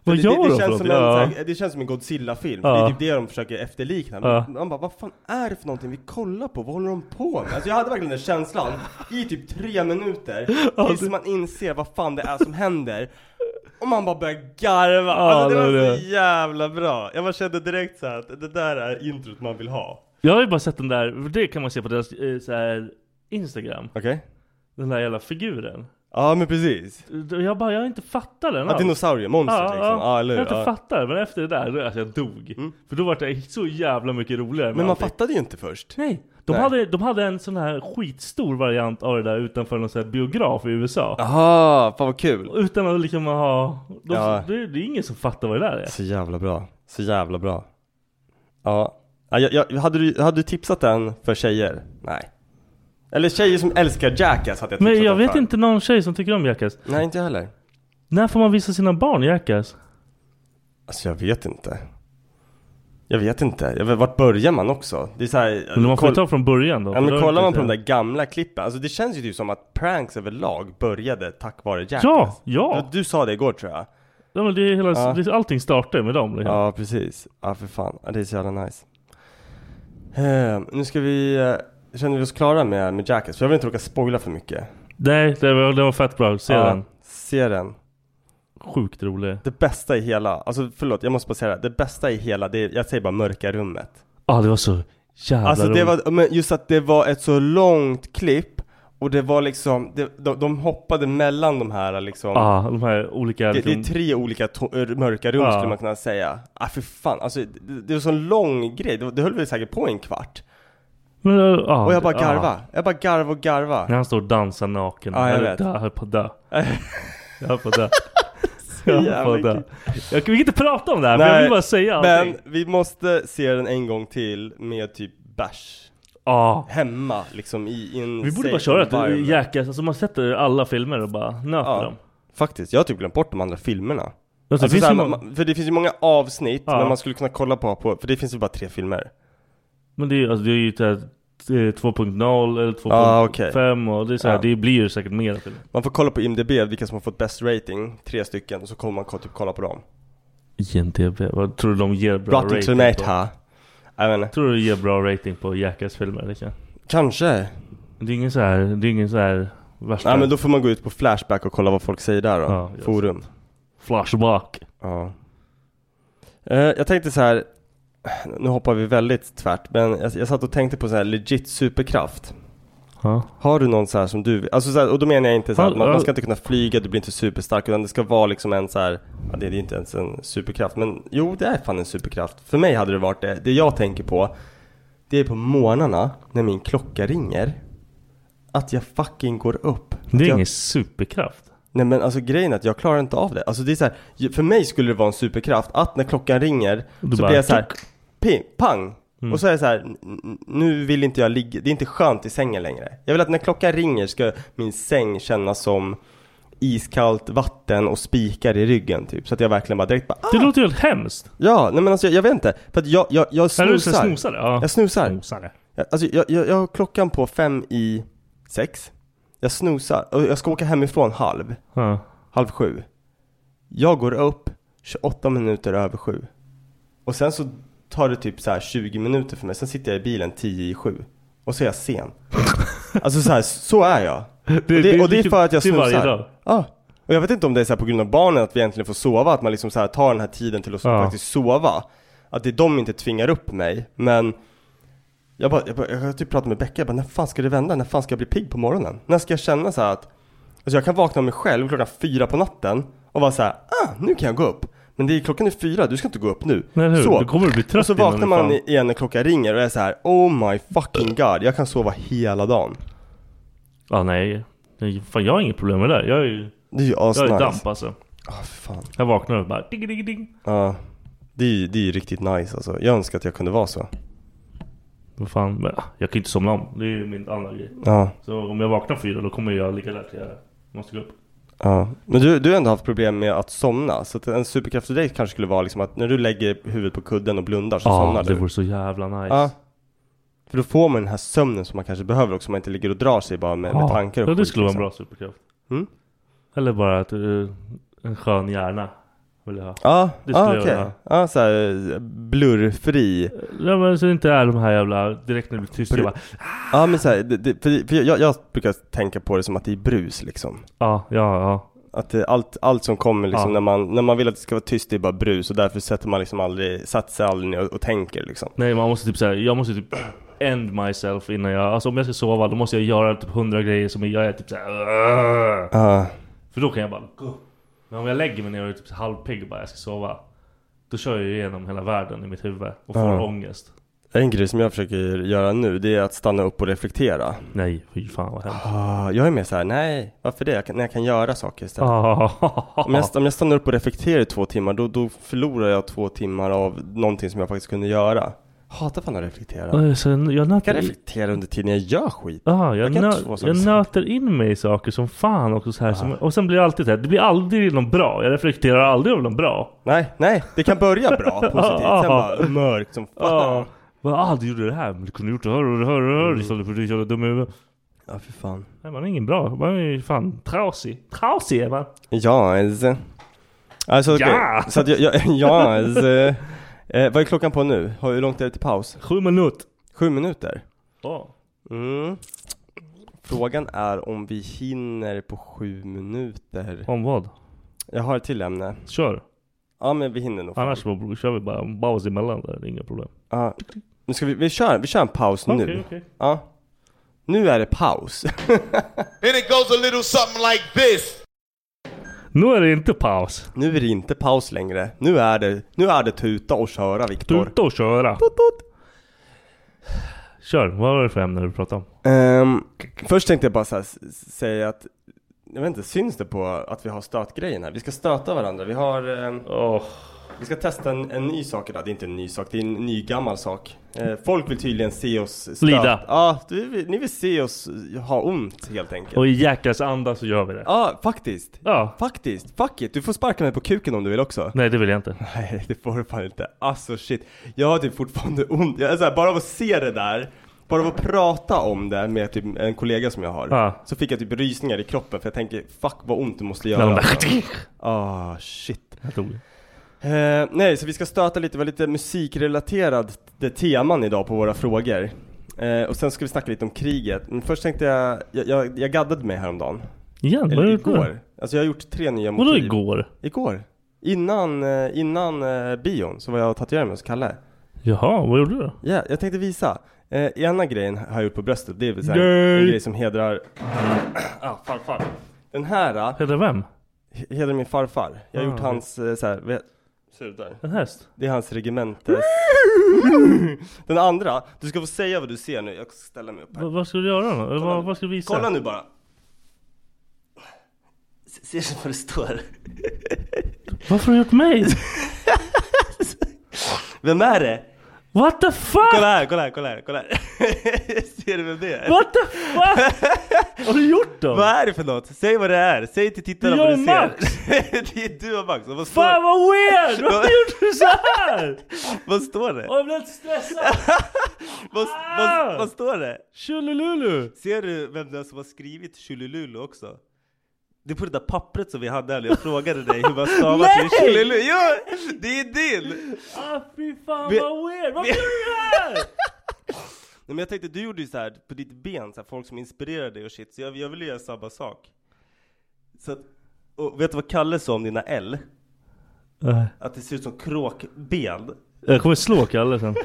Vad
det,
gör
det,
de
det,
för
känns som en,
något? Ja.
så här, det känns som en Godzilla-film,
Ja.
för det är typ det de försöker efterlikna. Men
Ja.
Man bara, vad fan är det för någonting vi kollar på? Vad håller de på med? Alltså jag hade verkligen den känslan i typ tre minuter, tills man inser vad fan det är som händer. Och man bara börjar garva. alltså
det
det var
var
så
det.
jävla bra. Jag bara kände direkt så här att det där är introt man vill ha.
Jag har ju bara sett den där, för det kan man se på deras eh, så här, Instagram.
Okej.
Den där jävla figuren.
Ja men precis.
Jag bara, jag har inte fattat den
Att
alls.
dinosaurier, monster liksom. Ja, eller hur?
Jag har
Ja. Mm.
inte fattat det, men efter det där, då- alltså jag dog. För då var det så jävla mycket roligare med
Men man
allting.
fattade ju inte först.
Nej. De,
Nej.
Hade, de hade en sån här skitstor variant av det där utanför någon sån här biograf i USA.
Aha, fan vad kul.
Utan att liksom ha... De,
Ja.
det, det är ingen som fattar vad det där är.
Så jävla bra. Så jävla bra. Ja. ja jag, jag, hade, du, hade du tipsat den för tjejer? Nej. Eller tjejer som älskar Jackass hade jag tipsat
Men jag
den
vet
för.
inte någon tjej som tycker om Jackass.
Nej, inte jag heller.
När får man visa sina barn Jackass?
Alltså jag vet inte. Jag vet inte. Jag vet, vart börjar man också? Det är så här,
Men man får
koll-
ju ta från början då.
Ja,
för
men
då är det
kollar man
inte-
på de där gamla klippen, alltså det känns ju typ som att pranks överlag började tack vare Jackass.
Ja, ja.
Du, du sa det igår tror jag.
Ja, men det är hela,
Ja.
det- Allting startar ju med dem liksom.
Ja, precis. Ja, för fan. Ja, det är så jävla nice. Ehm, nu ska vi... eh, Känner vi oss klara med, med Jackass? För jag vill inte råka spoila för mycket.
Nej, det var, det var fett bra. Se
Ja,
den.
Se den.
Sjukt rolig.
Det bästa i hela, alltså förlåt, jag måste bara säga det. här. Det bästa i hela, det är, jag säger bara mörka rummet.
Ja, Ah, det var så jävla
Alltså det
roligt.
var, men just att det var ett så långt klipp och det var liksom, det, de, de hoppade mellan de här liksom
Ja, de här olika...
det, det är
Liksom,
tre olika to- ö, mörka rum
Ja.
skulle man kunna säga. Ah för fan, alltså det, det var så lång grej, det, var- det höll väl säkert på en kvart.
men, ja,
Och jag bara
ja.
garva, jag bara garva och garva.
När han står och dansar naken.
Ja, jag
är
vet.
dö, Jag höll på att dö. Jag höll på att dö. Jag höll på
jävla
att dö.
kul.
Jag vi kan inte prata om det här, men jag vill bara säga allting.
men vi måste se den en gång till med typ bärs.
Ja.
Hemma liksom i i en
Vi borde
safe
bara köra ett
environment.
Jackass, alltså man sätter alla filmer och bara nöter
Ja.
dem.
Faktiskt, jag har typ glömt bort de andra filmerna.
Alltså,
Alltså
finns
såhär,
det många-
man, för det finns ju många avsnitt
Ja.
men man skulle kunna kolla på, på för det finns ju bara tre filmer.
Men det är, ju- alltså, det är ju det här, eh, 2.0 eller 2.5
Ja, Ah, okej.
och det, är så här,
Ja.
det blir ju säkert mer filmer.
Man får kolla på IMDB vilka som har fått bäst rating, tre stycken, och så kommer man ko- typ kolla på dem.
INTB, vad tror du de ger bra
Rotten
rating på?
Tomato. Jag vet inte.
Tror du de ger bra rating på Jackass-filmer? liksom?
Kanske.
Det är ingen så här, det är ingen så här värsta
Nej men då får man gå ut på Flashback och kolla vad folk säger där då.
Ja, just.
Forum.
flashback.
Ja. Eh, jag tänkte så här. nu hoppar vi väldigt tvärt, men jag, jag satt och tänkte på så här legit superkraft.
Ja.
Har du någon så här som du, alltså så här, och då menar jag inte så här,
Ja,
man,
ja.
man ska inte kunna flyga, du blir inte superstark, utan det ska vara liksom en så här, ja, det är ju inte ens en superkraft, men jo det är fan en superkraft. För mig hade det varit det, det jag tänker på, det är på morgnarna när min klocka ringer, att jag fucking går upp.
Det
Att
är
jag,
ingen superkraft.
Nej men alltså grejen är att jag klarar inte av det. Alltså det är så här, ju- för mig skulle det vara en superkraft att när klockan ringer
Du
så
bara,
blir jag så här,
klick.
ping, pang!
Mm.
Och så är jag så här, "N- n- nu vill inte jag ligga, det är inte skönt i sängen längre. Jag vill att när klockan ringer ska min säng kännas som iskallt vatten och spikar i ryggen typ. Så att jag verkligen bara direkt bara,
Det
ah!
låter ju helt hemskt.
Ja, nej men alltså jag, jag vet inte. För att jag, jag, jag
Eller du Mm. så
snusar.
snosare? Ja.
Jag snusar.
Snosare.
Jag- Alltså jag, jag, jag har klockan på fem i sex. Jag snusar och jag ska åka hemifrån halv
Ja.
halv sju. Jag går upp 28 minuter över sju. Och sen så tar det typ så här 20 minuter för mig. Sen sitter jag i bilen 10 i sju. Och så är jag sen. alltså så här, så är jag.
Det,
och, det, och det är för att jag
det är varje dag.
snusar. Ja. Och jag vet inte om det är så här på grund av barnen att vi egentligen får sova. Att man liksom så här tar den här tiden till att
Ja.
faktiskt sova. Att det är de inte tvingar upp mig. Men jag bara, jag, bara, jag har typ pratat med Becka, jag bara när fan ska det vända? När fan ska jag bli pigg på morgonen? När ska jag känna så här att Alltså jag kan vakna av mig själv klockan fyra på natten och vara så här, ah, nu kan jag gå upp. Men det är klockan är fyra, du ska inte gå upp nu.
Nej, eller hur?
så.
Då kommer du bli trött
och så
innan
vaknar
du fan-
man igen när klockan ringer och är så här, oh my fucking god, jag kan sova hela dagen.
Ja, nej. Nej, Fan, jag har inget problem med det. där. Jag är ju
Det är ju
jag är
asnice.
damp alltså.
Ah, fan.
Jag vaknar och bara ding, ding, ding.
Ja, det är ju det är ju riktigt nice alltså. Jag önskar att jag kunde vara så.
Vad fan, men, ah, jag kan ju inte somna om. Det är ju min andra grej.
Ja,
Så om jag vaknar fyra då kommer jag lika lätt jag måste gå upp.
ja. Men du, du har ändå haft problem med att somna. Så att en superkraft för dig kanske skulle vara liksom att när du lägger huvudet på kudden och blundar så somnar
Ah, det
du. Ah,
vore så jävla nice.
Ja. För då får man den här sömnen som man kanske behöver också, man inte ligger och drar sig bara med, med
Ja,
tankar och
Ah, Ja, det
skit,
skulle vara en
liksom.
bra superkraft.
Mm.
Eller bara att, eh, en skön hjärna vill jag ha.
Ja,
Det
ah,
skulle jag
okej.
göra.
Ja, såhär blurrfri.
Ja, men så det inte är de här jävla, direkt när det blir tyst, jag bara
Ja, men såhär, det, det, för, för jag, jag brukar tänka på det som att det är brus liksom.
ja, ah, ja, ja.
Att det, allt, allt som kommer liksom
Ja.
när, man, när man vill att det ska vara tyst, det är bara brus och därför sätter man liksom aldrig, satt sig aldrig ner och, och tänker liksom.
Nej man måste typ säga jag måste typ end myself innan jag... Alltså om jag ska sova då måste jag göra typ 100 grejer som jag är typ såhär...
Ja.
För då kan jag bara gå. Men om jag lägger mig ner och är typ halvpigg och bara jag ska sova. Då kör jag ju igenom hela världen i mitt huvud och får
Ja.
ångest.
En grej som jag försöker göra nu det är att stanna upp och reflektera.
Nej, fy fan vad hemskt.
Ah, jag är mer så här, nej, varför det? Jag kan, när jag kan göra saker istället.
Ah.
Om, jag, om jag stannar upp och reflekterar i två timmar, då, då förlorar jag två timmar av någonting som jag faktiskt kunde göra. Hatar fan att reflektera.
Oj, Så jag, jag
Jag kan
nöter,
reflektera under tiden jag gör skit.
ah, jag,
Jag kan
nö,
två saker
jag
samtidigt. Ah.
nöter in mig i saker som fan också så här. Som, och sen blir det alltid så här. Det blir aldrig någon bra. Jag reflekterar aldrig över någon bra.
Nej, nej, det kan börja bra, positivt, sen bara mörkt som
Ja.
fan.
Bara, ah, du gjorde det här, men du kunde gjort det här och det här och det
Mm.
här istället för att du är så jävla dum i huvudet.
Ja, för fan.
Nej, man är ingen bra. Man är ju fan trasig. Trasig är man.
Ja, alltså. Alltså, okej.
Ja.
Så att jag, jag, ja, alltså. Eh, vad är klockan på nu? Har- Hur långt är det till paus?
Sju minuter.
Sju minuter?
Ja.
Mm. Frågan är om vi hinner på sju minuter.
Om vad?
Jag har ett till ämne.
Kör.
Ja, men vi hinner nog. fan.
Annars så kör vi bara en paus emellan där. Det är inga problem.
Ja. Nu ska vi, vi kör, vi kör en paus nu.
Okej, okej.
Ja. Nu är det paus.
And it goes a little something like this.
Nu är det inte paus.
Nu är det inte paus längre. Nu är det, nu är det tuta och köra, Viktor.
Tuta och köra. Kör. Vad var det för ämne du pratade om?
Ehm, först tänkte jag bara så här, s- s- säga att jag vet inte, syns det på att vi har stötgrejen här? Vi ska stöta varandra. Vi har... ehm,
Åh.
vi ska testa en, en ny sak idag. Det är inte en ny sak, det är en ny gammal sak. Eh, folk vill tydligen se oss stöta.
Lida.
Ja, du, vill- ni vill se oss ha ont helt enkelt.
Och i jäklas anda så gör vi det.
Ja, faktiskt.
Ja.
Faktiskt. Fuck it. Du får sparka mig på kuken om du vill också.
Nej, det vill jag inte.
Nej, det får du fan inte. Alltså shit. Jag har typ fortfarande ont. Jag är så här, bara av att se det där, bara av att prata om det med typ en kollega som jag har.
Ja.
Så fick jag typ rysningar i kroppen för jag tänker fuck vad ont du måste
Ja,
göra. Ah shit.
Jag tog det.
Eh, nej, så vi ska stöta lite, det var lite musikrelaterad det teman idag på våra frågor. Eh, och sen ska vi snacka lite om kriget. Men först tänkte jag, jag, jag, jag gaddade mig häromdagen.
Igen? Vad
Eller
är det för-
igår. Alltså jag har gjort tre nya motiv.
Vadå igår?
Igår. Innan, eh, innan eh, bion så var jag och tatuerade mig hos Kalle.
Jaha, vad gjorde du då?
Ja, jag tänkte visa. Eh, ena grejen har jag gjort på bröstet, det är väl så här,
Yay!
en grej som hedrar
Ah, farfar.
den här, eh,
Heter vem?
hedrar min farfar. Jag har
Ah,
gjort
okej.
hans, eh, så här, vet, ser du där?
En häst?
Det är hans regementes... den andra, du ska få säga vad du ser nu, jag ska ställa mig upp
Va,
här.
vad ska du göra då? Eller Vad, vad ska du visa?
Kolla nu bara. Se- Ser du vad det står?
Varför har du gjort mig?
Vem är det?
What the fuck?
Kolla här, kolla här, kolla här, kolla här. ser du vem det är?
What the fuck? har du gjort dem?
Vad är det för något? Säg vad det är, säg till tittarna
Det är jag
vad du
och
ser.
Max.
det är du och Max. Och vad står,
Fan vad weird! Varför gjorde du såhär?
vad står det?
Åh jag blir helt stressad!
Vad, vad, vad står det?
Tjolilulu!
Ser du vem det är som har skrivit Tjolilulu också? Det är på det där pappret som vi hade här när jag frågade dig hur man stavar till
Nej!
Tjolilulu. Jo, det är din!
Ah fy fan
Vi-
vad weird! Varför
vi-
gjorde du det här?
Nej, men jag tänkte, du gjorde ju så här på ditt ben, så här, folk som inspirerar dig och shit, så jag, jag ville göra samma sak. Så att, och vet du vad Kalle sa om dina L?
Nej.
Att det ser ut som kråkben.
Äh, Jag kommer slå Kalle sen.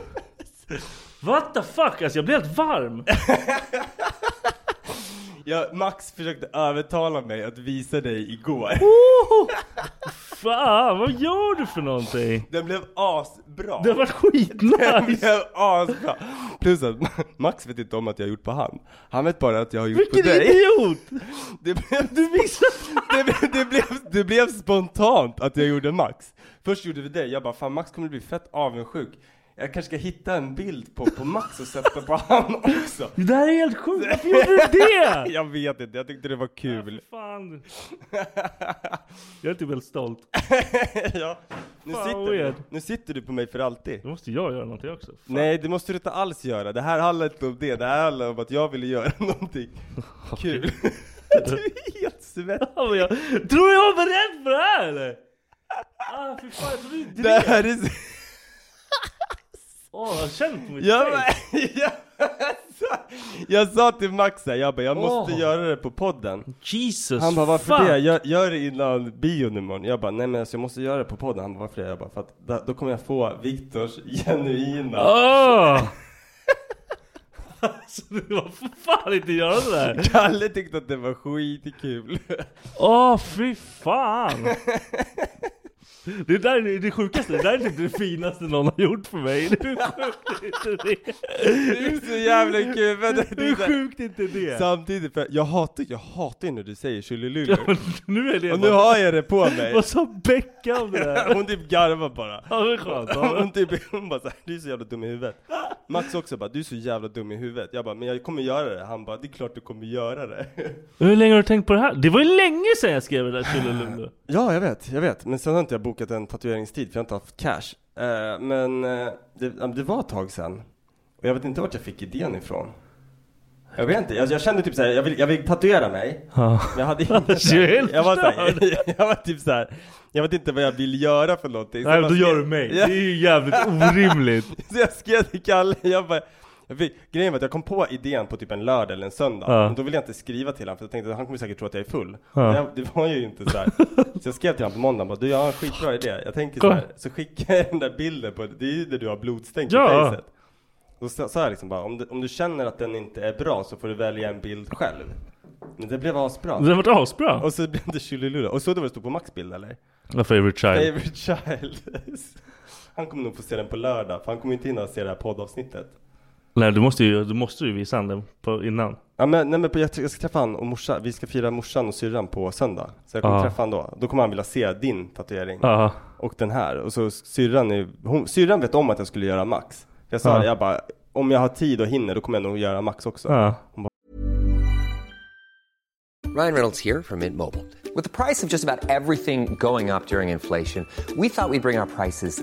What the fuck? Alltså jag blir helt varm!
Ja, Max försökte övertala mig att visa dig igår.
Fan vad gör du för någonting?
Den blev asbra.
Det har varit skitnice!
blev asbra. Plus att Max vet inte om att jag har gjort på han. Han vet bara att jag har gjort på
Vilken
dig.
idiot!
Det blev, du det, blev- det, blev, det blev spontant att jag gjorde Max. Först gjorde vi det, jag bara fan Max kommer bli fett avundsjuk. Jag kanske ska hitta en bild på, på Max och sätta på han också.
Det där är helt sjukt! Varför gjorde du det?
Jag vet inte, jag tyckte det var kul.
Fan. Jag är typ helt stolt.
ja, nu,
Fan,
sitter,
vad weird.
du- nu sitter du på mig för alltid.
Då måste jag göra någonting också. Fan.
Nej, det måste du inte alls göra. Det här handlar inte om det. Det här handlar om att jag ville göra någonting kul. du är helt svettig.
Ja, men jag, tror du jag var beredd för det här eller? Ah fy fan, jag trodde du
Det
drev.
här är... så-
Åh, jag har känt mitt
Jag,
face.
jag, sa, jag sa till Max här, jag bara, jag måste
Åh.
göra det på podden.
Jesus
Han bara, varför
fuck.
det? Gör, gör det innan bion imorgon. Jag bara, nej men alltså, jag måste göra det på podden. Han bara, varför det? Jag bara, för att da- då kommer jag få Viktors genuina...
Åh! Alltså du var för fan inte göra sådär!
Kalle tyckte att det var skitkul.
Åh fy fan! Det där är det sjukaste, det där är typ det finaste någon har gjort för mig. Hur sjukt är inte det?
Det är så jävla kul. men det- det är
Hur
så här-
sjukt är inte det?
Samtidigt, för jag hatar, jag hatar ju när du säger tjolilulu.
Ja, men nu är det
Och nu har jag det på mig.
Vad sa Becka om det där?
Hon typ garvar bara.
Ja, det är skönt.
Hon typ, hon bara såhär, du är så jävla dum i huvudet. Max också bara, du är så jävla dum i huvudet. Jag bara, men jag kommer göra det. Han bara, det är klart du kommer göra det.
Hur länge har du tänkt på det här? Det var ju länge sedan jag skrev det där Tjolilulu.
Ja, jag vet, jag vet. Men sen har inte jag bokat en tatueringstid för jag har inte haft cash. Eh, men eh, det, ja, men det var ett tag sen. Och jag vet inte vart jag fick idén ifrån. Jag vet inte, jag, jag kände typ såhär, jag vill, jag vill tatuera mig.
Ja.
Men jag hade inte
Alltså, jag är helt
jag, var såhär,
förstörd.
jag var typ såhär, jag vet inte vad jag vill göra för någonting. Så
Nej
jag
men
bara
då gör
skrev-
du mig. Det
Ja.
är ju jävligt orimligt.
Så jag skrev till Kalle, jag bara jag fick, grejen var att jag kom på idén på typ en lördag eller en söndag,
Ja.
men då ville jag inte skriva till honom för jag tänkte att han kommer säkert tro att jag är full.
Ja.
Det, det var ju inte så här. Så jag skrev till honom på måndagen bara, du jag har en skitbra idé. Jag tänker så
Kom.
här, så skickade jag den där bilden på, det är ju där du har blodstänk
Ja.
i fejset. Då sa sa jag liksom bara, om du, om du känner att den inte är bra så får du välja en bild själv. Men det blev asbra.
Det har varit asbra.
Och så blev det Chilulula. Och så det vad det stod på Max bild eller?
My favorite child.
Favorite child. Han kommer nog få se den på lördag, för han kommer inte hinna se det här poddavsnittet.
Nej du måste ju, du måste ju visa han den på, innan.
Ja men, nej, men på, jag, jag ska träffa han och morsan, vi ska fira morsan och syrran på söndag. Så jag kommer
Ja.
träffa han då. Då kommer han vilja se din tatuering.
Ja.
Och den här. Och så syrran är, hon, syrran vet om att jag skulle göra Max. Jag sa
Ja.
det, jag bara, om jag har tid och hinner då kommer jag nog göra Max också.
Ja.
Ryan Reynolds here from Mint Mobile. With the price of just about everything going up during inflation, we thought we'd bring our prices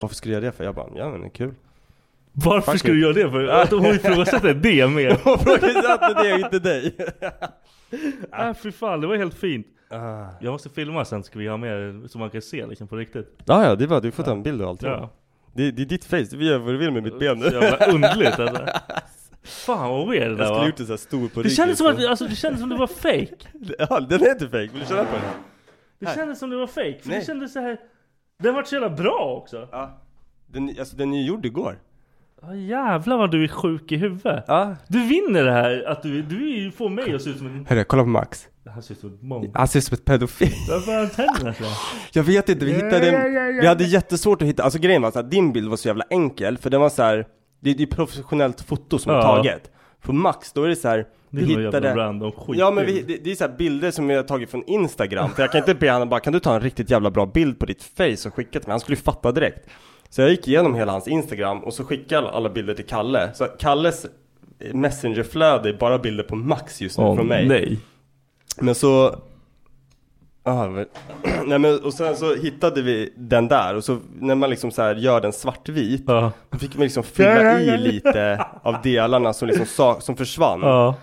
Varför skulle jag göra det för? Jag bara, ja men det är kul.
Varför
Fuck
ska du
it.
göra det för? Att hon ifrågasätter det mer.
Hon ifrågasatte det och inte dig.
Nej fy fan, det var helt fint.
Ah.
Jag måste filma sen ska vi ha med det så man kan se liksom på riktigt.
Ja ja, det är bara, du får ta en bild och allting.
Ja.
Det, det är ditt face, du får göra vad du vill med mitt ben nu.
Så jävla underligt alltså. Fan vad weird det
Jag
där
skulle
var.
gjort det såhär stor på
Det kändes som
liksom.
att alltså, det kändes som det var fake.
Ja, den är inte fake, vill du köra på den?
Det kändes som det var fake. För det
Nej.
kändes så här. Den vart så jävla bra också.
Den, alltså den är ju gjord igår.
Ja jävlar vad du är sjuk i huvudet.
Ja.
Du vinner det här att du, du är ju- får mig att se ut som en...
Hörru, kolla på Max.
Han ser ut som en monk.
Han ser ut som ett pedofil.
Varför har han tänderna sådär?
Jag vet inte, vi hittade
Ja, ja, ja, ja.
Vi hade jättesvårt att hitta, alltså grejen var att din bild var så jävla enkel, för den var så här. Det, det är professionellt foto som är
Ja.
taget. För Max, då är det så här.
Det
vi
är någon jävla
hittade...
random skitbild.
Ja men vi, det, det är så här bilder som vi har tagit från Instagram, för jag kan inte be honom bara, kan du ta en riktigt jävla bra bild på ditt face och skicka till mig? Han skulle ju fatta direkt. Så jag gick igenom hela hans Instagram och så skickade jag alla- alla bilder till Kalle. Så Kalles messengerflöde är bara bilder på Max just nu
Åh,
från mig.
nej.
Men så... Ah, men... Nej, men, och sen så hittade vi den där och så när man liksom så här gör den svartvit
Ja.
Då fick man liksom fylla i lite av delarna som liksom sa, som försvann
Ja.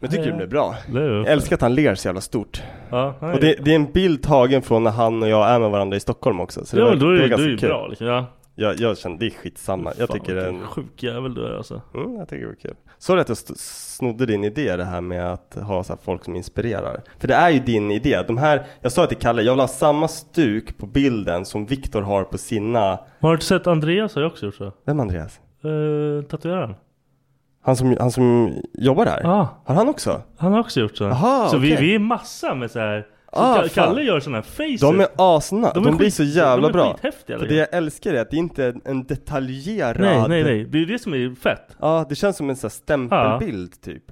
Men jag tycker det blev bra
Det är ju-
Jag älskar att han ler så jävla stort
Ja, nej.
Och det, det är en bild tagen från när han och jag är med varandra i Stockholm också Så det
ja,
var,
men då är
det
det,
var
då är
ganska
det ju
kul
bra liksom. Ja.
jag, jag kände, det är skitsamma Jag
Fan,
tycker det är
vilken
en
sjuk jävel du är alltså.
Mm, jag tycker det var kul. Sorry att jag st- snodde din idé det här med att ha så här folk som inspirerar. För det är ju din idé. De här, jag sa till Kalle, jag vill ha samma stuk på bilden som Viktor har på sina...
Har du inte sett Andreas har ju också gjort så.
Vem Andreas?
Uh, tatueraren.
Han som, han som jobbar där?
Ja.
Har han också?
Han har också gjort så.
Aha,
så vi,
okej.
vi är massa med så här. Så
Ah,
Ka-
fan.
Kalle gör såna här faces.
De är asna.
De
De,
är
blir
skit-
så jävla
de är
bra.
skithäftiga,
För det
liksom.
jag älskar är att det inte är en- en detaljerad...
Nej, nej, nej. Det är ju det som är fett.
Ja, det känns som en sån här stämpelbild typ.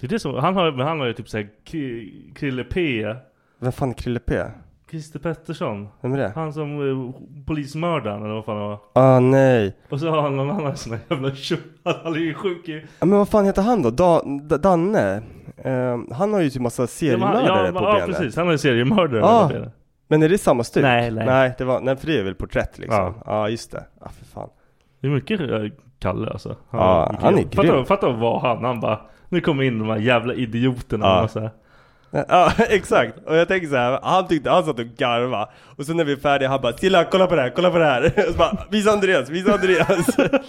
Det är det som, han har, men han har ju typ såhär Kri- Krille P.
Vem fan är Krille P?
Christer Pettersson.
Vem är det?
Han som eh, polismördaren eller vad fan han var.
Ah nej.
Och så har han någon annan sån här jävla tjock. Han är ju sjuk i...
Ja, men vad fan heter han då? Da, da, Danne? Ehm, han har ju typ massa seriemördare
ja, men-
på
ja,
benen.
precis. Han har ju seriemördare
Ja.
på benen.
Men är det samma stuk?
Nej, nej.
Nej, det var, nej för det är väl porträtt liksom. Ja, just det. Ja, för fan.
Det är mycket eh, Kalle alltså.
Ja, han är grym.
Fatta, fatta vad han, han bara. Nu kommer in de här jävla idioterna. alltså.
Ja.
Ja. Så här.
Ja, exakt. Och jag tänker så här, han tyckte, han satt och garva. Och sen när vi är färdiga, han bara, Tilla, kolla på det här, kolla på det här. Och så bara, visa Andreas, visa Andreas.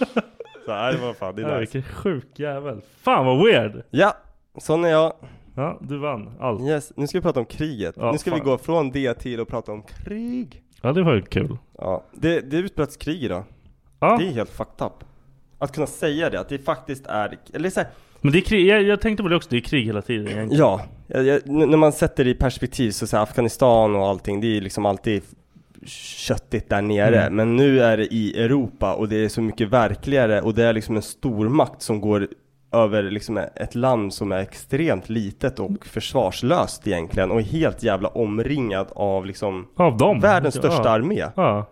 så här, det var fan, det
Ja,
är nice.
Vilken sjuk jävel. Fan vad weird.
Ja, sån är jag.
Ja, du vann allt.
Yes, nu ska vi prata om kriget.
Ja,
nu ska vi
fan.
gå från det till att prata om krig.
Ja, det var ju kul.
Ja, det, det utbröts krig idag.
Ja.
Det är helt fucked up. Att kunna säga det, att det faktiskt är, eller så här,
Men det är krig, jag, jag tänkte på det också, det är krig hela tiden egentligen.
Ja, jag, jag, n- när man sätter det i perspektiv så, så här, Afghanistan och allting, det är liksom alltid köttigt där nere.
Mm.
Men nu är det i Europa och det är så mycket verkligare och det är liksom en stormakt som går över liksom ett land som är extremt litet och försvarslöst egentligen och är helt jävla omringad av liksom
Av dem?
världens
Ja.
största armé.
Ja.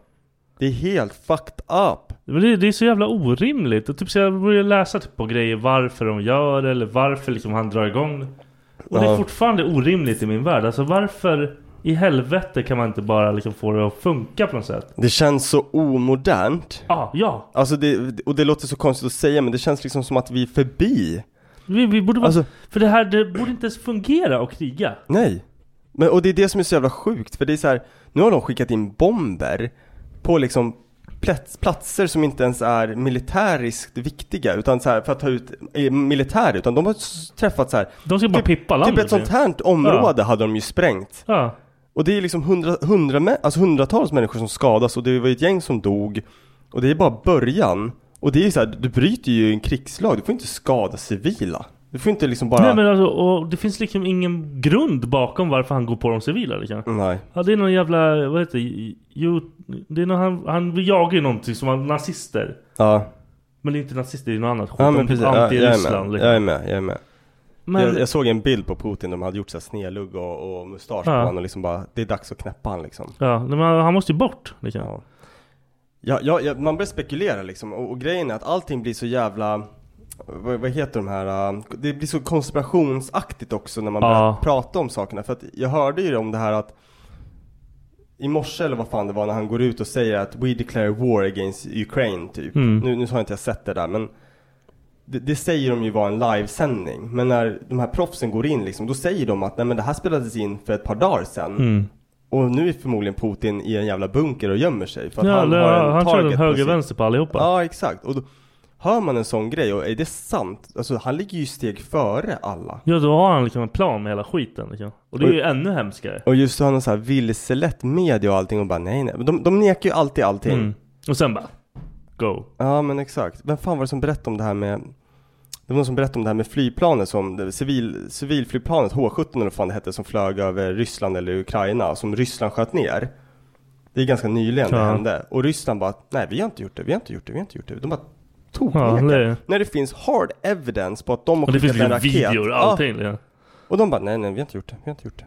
Det är helt fucked up.
Men det, det är så jävla orimligt. Och typ så jag börjar läsa typ på grejer varför de gör det, eller varför liksom han drar igång det. Och det
Ja.
är fortfarande orimligt i min värld. Alltså varför i helvete kan man inte bara liksom få det att funka på något sätt?
Det känns så omodernt.
Ja, ja.
Alltså det, och det låter så konstigt att säga men det känns liksom som att vi är förbi
Vi, vi borde vara...
Alltså-
för det här det borde inte ens fungera att kriga.
Nej. Men, och det är det som är så jävla sjukt, för det är så här, nu har de skickat in bomber på liksom plats, platser som inte ens är militäriskt viktiga, utan så här, för att ta ut eh, militär, utan de har s- träffat så här.
De ska bara pippa
Typ
landet
ett sånt här område hade de ju sprängt.
Ja.
Och det är liksom hundra, hundra, mä- alltså hundratals människor som skadas och det var ju ett gäng som dog. Och det är bara början. Och det är ju så här, du bryter ju en krigslag, du får inte skada civila. Du får inte liksom bara...
Nej men alltså, och det finns liksom ingen grund bakom varför han går på de civila liksom.
Nej.
Ja det är någon jävla, vad heter det? Jo, det är någon, han, han jagar ju någonting som var nazister.
Ja.
Men det är inte nazister, det är något annat skit.
Ja men
De är
precis,
typ
ja, jag är
anti-Ryssland
med,
liksom.
jag är med, jag är med.
Men-
Jag, jag såg en bild på Putin, de hade gjort såhär snedlugg och, och mustasch på
Ja.
honom och liksom bara, det är dags att knäppa han liksom.
Ja, nej, men han han måste ju bort liksom.
Ja. Ja, ja, ja, man börjar spekulera liksom och, och grejen är att allting blir så jävla vad, vad heter de här, äh, det blir så konspirationsaktigt också när man
Ja.
börjar prata om sakerna för att jag hörde ju om det här att i morse eller vad fan det var när han går ut och säger att we declare war against Ukraine typ.
Mm.
Nu, nu har inte jag sett det där men det, det säger de ju var en livesändning. Men när de här proffsen går in liksom, då säger de att nej men det här spelades in för ett par dagar sedan.
Mm.
Och nu är förmodligen Putin i en jävla bunker och gömmer sig. För att
Ja,
han
eller,
har en
han
target
körde
på
höger
sig.
vänster på allihopa.
Ja, exakt. Och då, hör man en sån grej och är det sant? Alltså han ligger ju steg före alla.
Ja, då har han liksom en plan med hela skiten liksom. Och det är ju ännu hemskare.
Och just så har han så här vilselett media och allting och bara nej nej. Men De, de nekar ju alltid allting.
Mm. Och sen bara, go.
Ja men exakt. Vem fan var det som berättade om det här med det var någon som berättade om det här med flygplanet som, det civil, civilflygplanet H17 eller vad fan det hette som flög över Ryssland eller Ukraina som Ryssland sköt ner. Det är ganska nyligen det
Ja.
hände. Och Ryssland bara, nej vi har inte gjort det, vi har inte gjort det, vi har inte gjort det. De bara tog
Ja, det-
När det finns hard evidence på att de har
Och det
skickat
finns
en
liksom
raket.
videor och allting.
Ja.
Liksom.
Och de bara, nej nej vi har inte gjort det, vi har inte gjort det.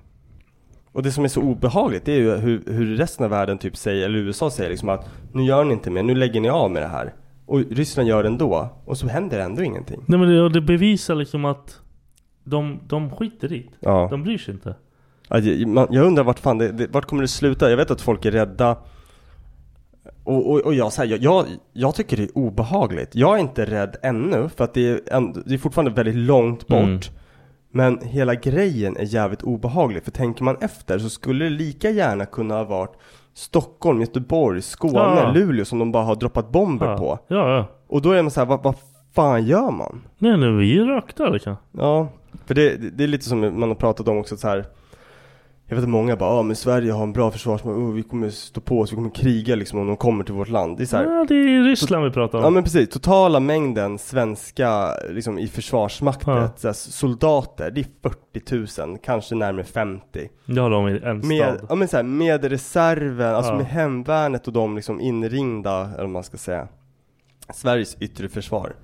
Och det som är så obehagligt det är ju hur, hur resten av världen typ säger, eller USA säger liksom att nu gör ni inte mer, nu lägger ni av med det här. Och Ryssland gör det ändå, och så händer ändå ingenting.
Nej men det, och det bevisar liksom att de, de skiter i det.
Ja.
De bryr sig inte.
Ja, det- man- Jag undrar vart fan det, det, vart kommer det sluta? Jag vet att folk är rädda. Och, och, och jag, så här, jag, jag, jag tycker det är obehagligt. Jag är inte rädd ännu för att det är, ändå, det är fortfarande väldigt långt bort.
Mm.
Men hela grejen är jävligt obehaglig. För tänker man efter så skulle det lika gärna kunna ha varit Stockholm, Göteborg, Skåne,
Ja.
Luleå som de bara har droppat bomber
Ja.
på.
Ja, ja.
Och då är man så här, vad, vad fan gör man?
Nej, nu vi är rökta liksom.
Ja, för det, det det är lite som man har pratat om också så här. Jag vet att många bara, ja men Sverige har en bra försvarsmakt, oh, vi kommer stå på oss, vi kommer kriga liksom om de kommer till vårt land. Det är så här,
Ja, det är Ryssland vi pratar om.
ja men precis, totala mängden svenska liksom i försvarsmakten,
Ja.
så här, soldater, det är 40 000, kanske närmare 50.
Det har de i en
Med,
stad.
ja, men så här, med reserven, alltså
Ja.
med hemvärnet och de liksom inringda, eller vad man ska säga, Sveriges yttre försvar.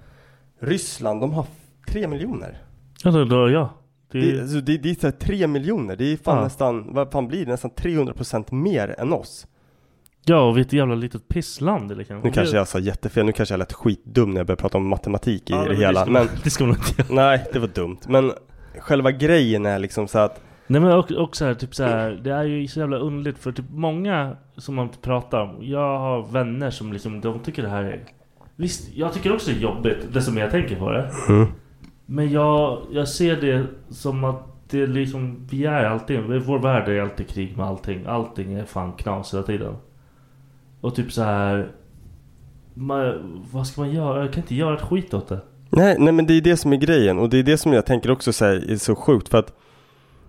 Ryssland, de har 3 miljoner.
Ja, då, då, ja. Det,
Det, alltså, det, det är så här 3 miljoner, det är fan
Mm. Ja.
nästan, vad fan blir det? Nästan 300% mer än oss.
ja, och vi är ett jävla litet pissland. Eller kanske.
Nu kanske jag sa jättefel, nu kanske jag lät skitdum när jag började prata om matematik i
Ja,
det
men
hela.
det ska-
men,
det ska man inte
göra. Nej, det var dumt. Men själva grejen är liksom så att
Nej men och, och så här, typ så här, det är ju så jävla underligt för typ många som man pratar om, jag har vänner som liksom, de tycker det här är... Visst, jag tycker också det är jobbigt, det som jag tänker på det.
Mm.
Men jag, jag ser det som att det är liksom, vi är alltid, vår värld är alltid krig med allting. Allting är fan knas hela tiden. Och typ så här, man, vad ska man göra? Jag kan inte göra ett skit åt det.
Nej, nej men det är det som är grejen och det är det som jag tänker också så här, är så sjukt för att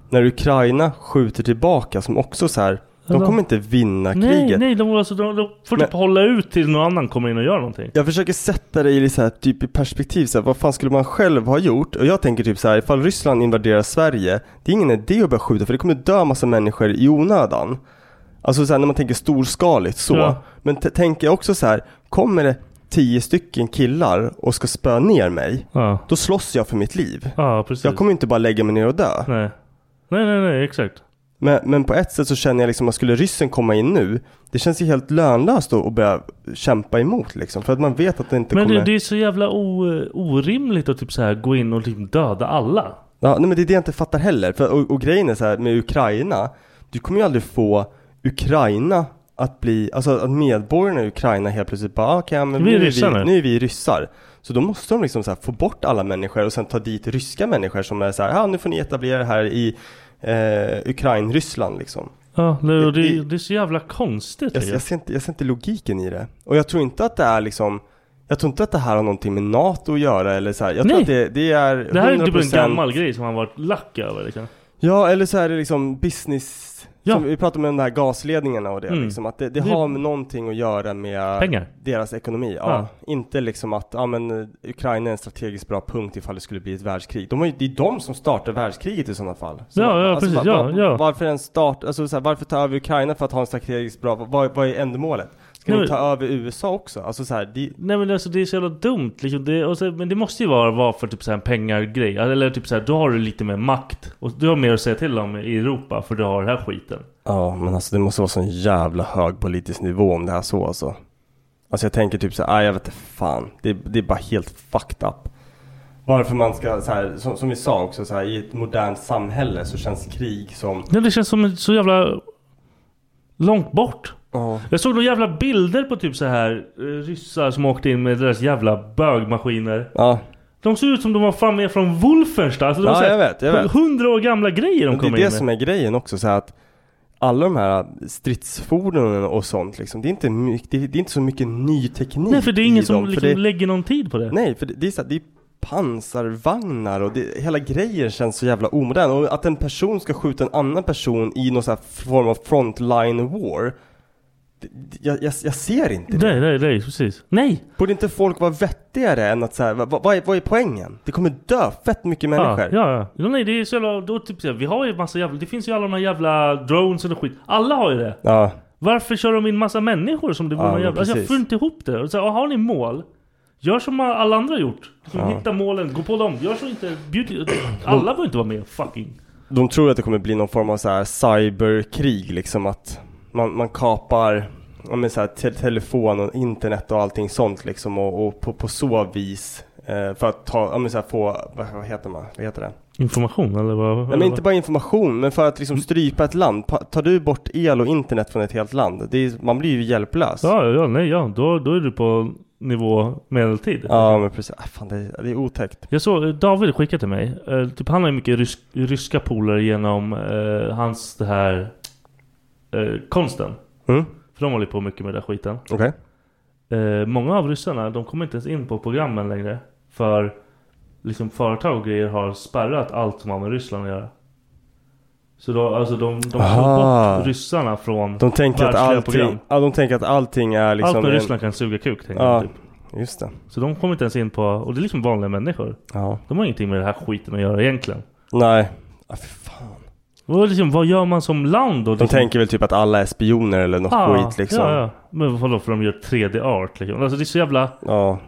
när Ukraina skjuter tillbaka som också så här, de
Eller?
kommer inte vinna
Nej,
kriget.
nej, de, alltså, de, de får typ hålla ut till någon annan kommer in och gör någonting.
Jag försöker sätta det i så här, typ i perspektiv, så här, vad fan skulle man själv ha gjort? Och jag tänker typ så här, ifall Ryssland invaderar Sverige, det är ingen idé att börja skjuta för det kommer dö massa människor i onödan. Alltså så här, när man tänker storskaligt så.
Ja.
Men t- tänker jag också så här, kommer det tio stycken killar och ska spöa ner mig, då slåss jag för mitt liv.
Ja, precis.
Jag kommer inte bara lägga mig ner och dö.
Nej. Nej, nej, nej, exakt.
Men, men på ett sätt så känner jag liksom att skulle ryssen komma in nu, det känns ju helt lönlöst då att börja kämpa emot liksom. För att man vet att det inte
Men
kommer...
det, det är så jävla o, orimligt att typ så här gå in och liksom döda alla.
Ja, nej, men det är det jag inte fattar heller. För, och, och grejen är så här med Ukraina. Du kommer ju aldrig få Ukraina att bli, alltså att medborgarna i Ukraina helt plötsligt bara, ah, okej, ja, men
Vi är
nu, är
ryssar
vi,
nu.
nu är vi ryssar. Så då måste de liksom så här få bort alla människor och sen ta dit ryska människor som är så här, ja ah, nu får ni etablera er här i eh, Ukraina-Ryssland liksom.
Ja, det, och det,
Det-
det är så jävla konstigt.
Jag,
tycker
jag, ser inte, jag ser inte logiken i det. Och jag tror inte att det är liksom jag tror inte att det här har någonting med NATO att göra eller så här. Jag tror
Nej.
att det, det är 100%
Det här är typ en gammal grej som han varit lack över. Liksom.
Ja, eller så är det liksom business. Som vi pratade om de här gasledningarna och det
Mm.
liksom, att det, det
Det-
har med någonting att göra med
Pengar.
deras ekonomi. Ja.
Ja.
Inte liksom att, ja men eh, Ukraina är en strategiskt bra punkt ifall det skulle bli ett världskrig. De har ju, det är de som startar världskriget i sådana fall. Så
Ja,
va-
ja, precis. Ja, ja.
Varför ens start, alltså så här, varför ta över Ukraina för att ha en strategiskt bra, vad, vad är ändamålet? Ska
Nej,
ni
men-
ta över USA också? Alltså så här, det,
Nej men alltså det är så jävla dumt liksom. det, och så, Men det måste ju vara, vara för typ så här en pengargrej Eller typ så här, då har du lite mer makt Och du har mer att säga till om i Europa För du har den här skiten
Ja, men alltså det måste vara sån jävla hög politisk nivå om det här så alltså. Alltså jag tänker typ så här, "Ah, jag vet inte fan. Det, det är bara helt fucked up. Varför man ska, så här, som, som vi sa också, så här, i ett modernt samhälle så känns krig som...
Nej det känns som ett så jävla Långt bort Jag såg några jävla bilder på typ så här eh, Ryssar som åkte in med deras jävla bögmaskiner
Ja.
De ser ut som de var fan med från Wolfenstein alltså, de
Ja,
var så här
jag vet, jag vet.
Hundra år gamla grejer de
Men det är
kommer
det
in
som
med
är grejen också, så här att alla de här stridsfordonen och sånt liksom, det är inte, my- det, är- det är inte så mycket ny teknik
Nej för det är
i
ingen som
dem, för
liksom
det-
lägger någon tid på det
Nej, för det, det är så här, det är pansarvagnar och det, hela grejen känns så jävla omodern. Och att en person ska skjuta en annan person i någon så här form av frontline war. Det, det- jag, jag, jag ser inte det.
Nej nej nej precis Nej!
Borde inte folk vara vettigare än att så här, vad, vad, är, vad är poängen? Det kommer dö fett mycket människor.
Ja, ja, ja. Jo, nej, det är så jävla, då typ, så här, vi har ju massa jävla, det finns ju alla de här jävla drones och skit. Alla har ju det.
Ja.
Varför kör de in massa människor som det vore
Ja,
någon
men
jävla... Alltså, jag
precis.
får inte ihop det. Och Så här, har ni mål? Gör som alla andra har gjort. Liksom,
Ja.
Hitta målen, gå på dem. Gör så inte... Bjud, alla behöver inte vara med. Fucking.
De tror att det kommer bli någon form av så här cyberkrig liksom att man, man kapar ja, men så här, te telefon och internet och allting sånt liksom och, och på, på så vis eh, för att ta, ja, men så här, få, vad, vad heter man, vad heter det?
Information eller vad?
Nej, men inte bara information men för att
Mm.
liksom strypa ett land. Pa- Tar du bort el och internet från ett helt land, det är, man blir ju hjälplös.
Ja, ja, nej, ja. Då, då är du på nivå medeltid.
Ja men precis, ah, fan det är, det är otäckt.
Jag såg, eh, David skickade till mig. Eh, typ han har ju mycket rysk, ryska polare genom eh, hans det här eh, konsten.
Mm.
För de håller på mycket med den där skiten.
Okej.
Eh, många av ryssarna, de kommer inte ens in på programmen längre. För liksom företag och grejer har spärrat allt som har med Ryssland att göra. Så då, alltså de, de
Aha.
har bort ryssarna från
De tänker, att
världsliga
allting, ja, de tänker att allting är liksom...
Allt med
en-
Ryssland kan suga kuk tänker
Ja,
de typ.
just det.
Så de kommer inte ens in på, och det är liksom vanliga människor.
Ja.
De har ingenting med den här skiten att göra egentligen.
Nej.
Och liksom, vad gör man som land då?
De
Liksom? ah,
tänker väl typ att alla är spioner eller något
Ja,
skit liksom.
Ja, ja. Men vadå för de gör 3D-art liksom? Alltså det är så jävla...
Ja.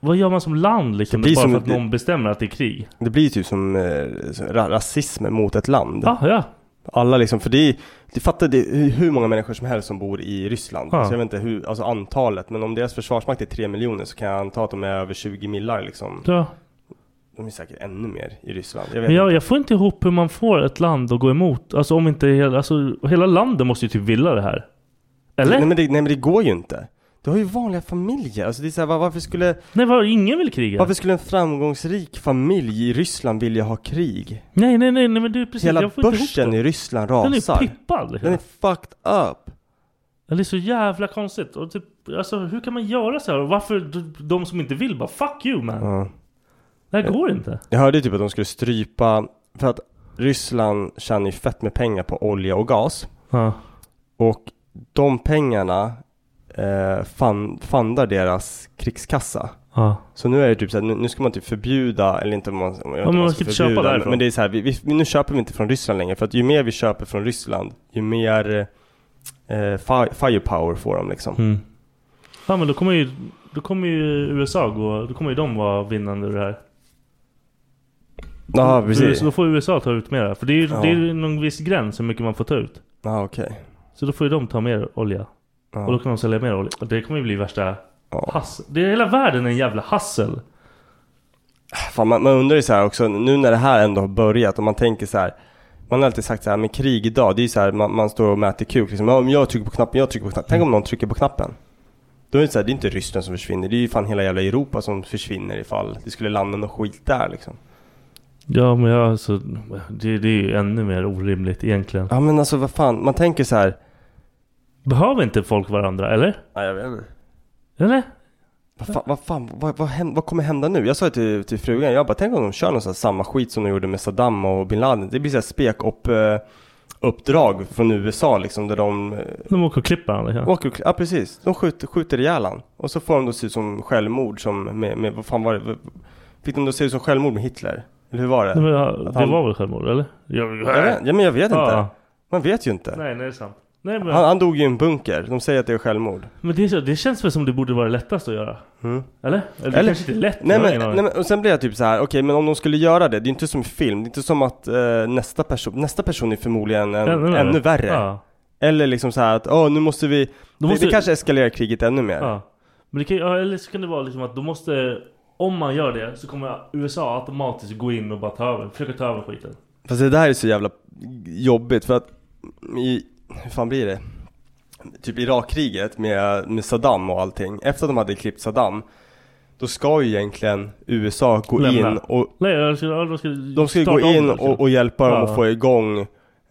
Vad gör man som land liksom?
Det blir
Bara
som-
för att någon bestämmer att det är krig?
Det blir ju typ som eh, ra- rasism mot ett land.
Ah, ja.
Alla liksom, för det är, du fattar det är hur många människor som helst som bor i Ryssland.
Ja.
Så jag vet inte hur, alltså antalet, men om deras försvarsmakt är 3 miljoner så kan jag anta att de är över 20 millar liksom.
Ja.
De är säkert ännu mer i Ryssland. Jag vet
Men jag,
inte.
jag får inte ihop hur man får ett land att gå emot. Alltså om inte hela, alltså, hela landet måste ju typ vilja det här. Eller?
Nej men, det, nej men det går ju inte. Du har ju vanliga familjer. Alltså det är så här, var, varför skulle...
Nej var, ingen vill kriga.
Varför skulle en framgångsrik familj i Ryssland vilja ha krig?
Nej, nej, nej, nej men det är precis.
Hela
jag får inte ihop
börsen
det.
i Ryssland
Den är
rasar.
pippad. liksom.
Den är fucked up.
Det är så jävla konstigt. Och typ, alltså, hur kan man göra så här? Och varför d- de som inte vill bara 'fuck you man'?
Ja.
Det här går inte.
Jag hörde ju typ att de skulle strypa, för att Ryssland tjänar ju fett med pengar på olja och gas.
Ja.
Och de pengarna eh, fan, fandar deras krigskassa.
Ja.
Så nu är det typ såhär, nu, nu ska man typ förbjuda, eller inte om man, jag vet inte om
men man
man
ska
ska
inte köpa
förbjuda, men-
därifrån.
men det är såhär, vi, vi, nu köper vi inte från Ryssland längre. För att ju mer vi köper från Ryssland, ju mer eh, fi, firepower får de liksom.
Mm. Ja men då kommer ju, då kommer ju USA gå, då kommer ju de vara vinnande ur det här.
Ja,
Så-
precis.
Så då får USA ta ut mer. För det är ju
Ja.
det är ju någon viss gräns hur mycket man får ta ut.
Ja, okej.
Så då får ju de ta mer olja.
Ja.
Och då kan de sälja mer olja. Och det kommer ju bli värsta hassel. Det är hela världen är en jävla hassel.
Fan, man, man undrar ju så här också, nu när det här ändå har börjat och man tänker så här. Man har alltid sagt så här, men krig idag, det är ju så här, man, man står och mäter kuk liksom. Ja, Om jag trycker på knappen, jag trycker på knappen. Tänk om någon trycker på knappen. Då är det så här, det är inte Ryssland som försvinner, det är ju fan hela jävla Europa som försvinner ifall det skulle landa någon skit där liksom.
Ja men jag alltså, det, det är ju ännu mer orimligt egentligen.
Ja men alltså vad fan, man tänker så här.
Behöver inte folk varandra eller?
Nej jag vet inte.
Eller?
Vad fan, vad, fan vad, vad, hän- vad kommer hända nu? Jag sa ju till, till frugan, jag bara tänk om de kör någon så här samma skit som de gjorde med Saddam och bin Laden. Det blir så här spek upp, eh, uppdrag från USA liksom där de eh,
De åker och klipper varandra kanske.
Åker och, ja precis, de skjuter, skjuter ihjäl han. Och så får de då se ut som självmord som med, med vad fan var det? Vad- Fick de då se ut som självmord med Hitler? Eller hur var det?
Nej, men, ja,
Att
det
han-
var väl självmord eller? Jag,
Jag vet- Ja men jag vet
Ja.
inte. Man vet ju inte.
Nej, nej det är sant. Nej, men,
Han, han dog ju i en bunker. De säger att det är självmord.
men det, är så, det känns väl som det borde vara lättast att göra?
Mm.
Eller? Eller det kanske inte är lätt?
Nej
jag har
men,
ingen aning.
nej men, och sen blir jag typ så här. okej men om de skulle göra det, det är inte som i film, det är inte som att eh, nästa person, nästa person är förmodligen en,
Ännu
ännu,
värre.
värre.
Ja.
Eller liksom så här att, åh nu måste vi, vi,
måste-
vi kanske eskalerar kriget ännu mer.
Ja. Men det kan, ju- ja, eller så kan det vara liksom att då måste... Om man gör det så kommer USA automatiskt gå in och bara ta över. Försöka ta över skiten.
Fast det där är så jävla jobbigt för att i, hur fan blir det? Typ Irakkriget med, med Saddam och allting. Efter att de hade klippt Saddam, då ska ju egentligen USA gå
Lämna.
in och
Nej, de ska, de ska,
de ska ju gå
starta om
in
det, liksom.
och, och hjälpa dem
Ja.
att få igång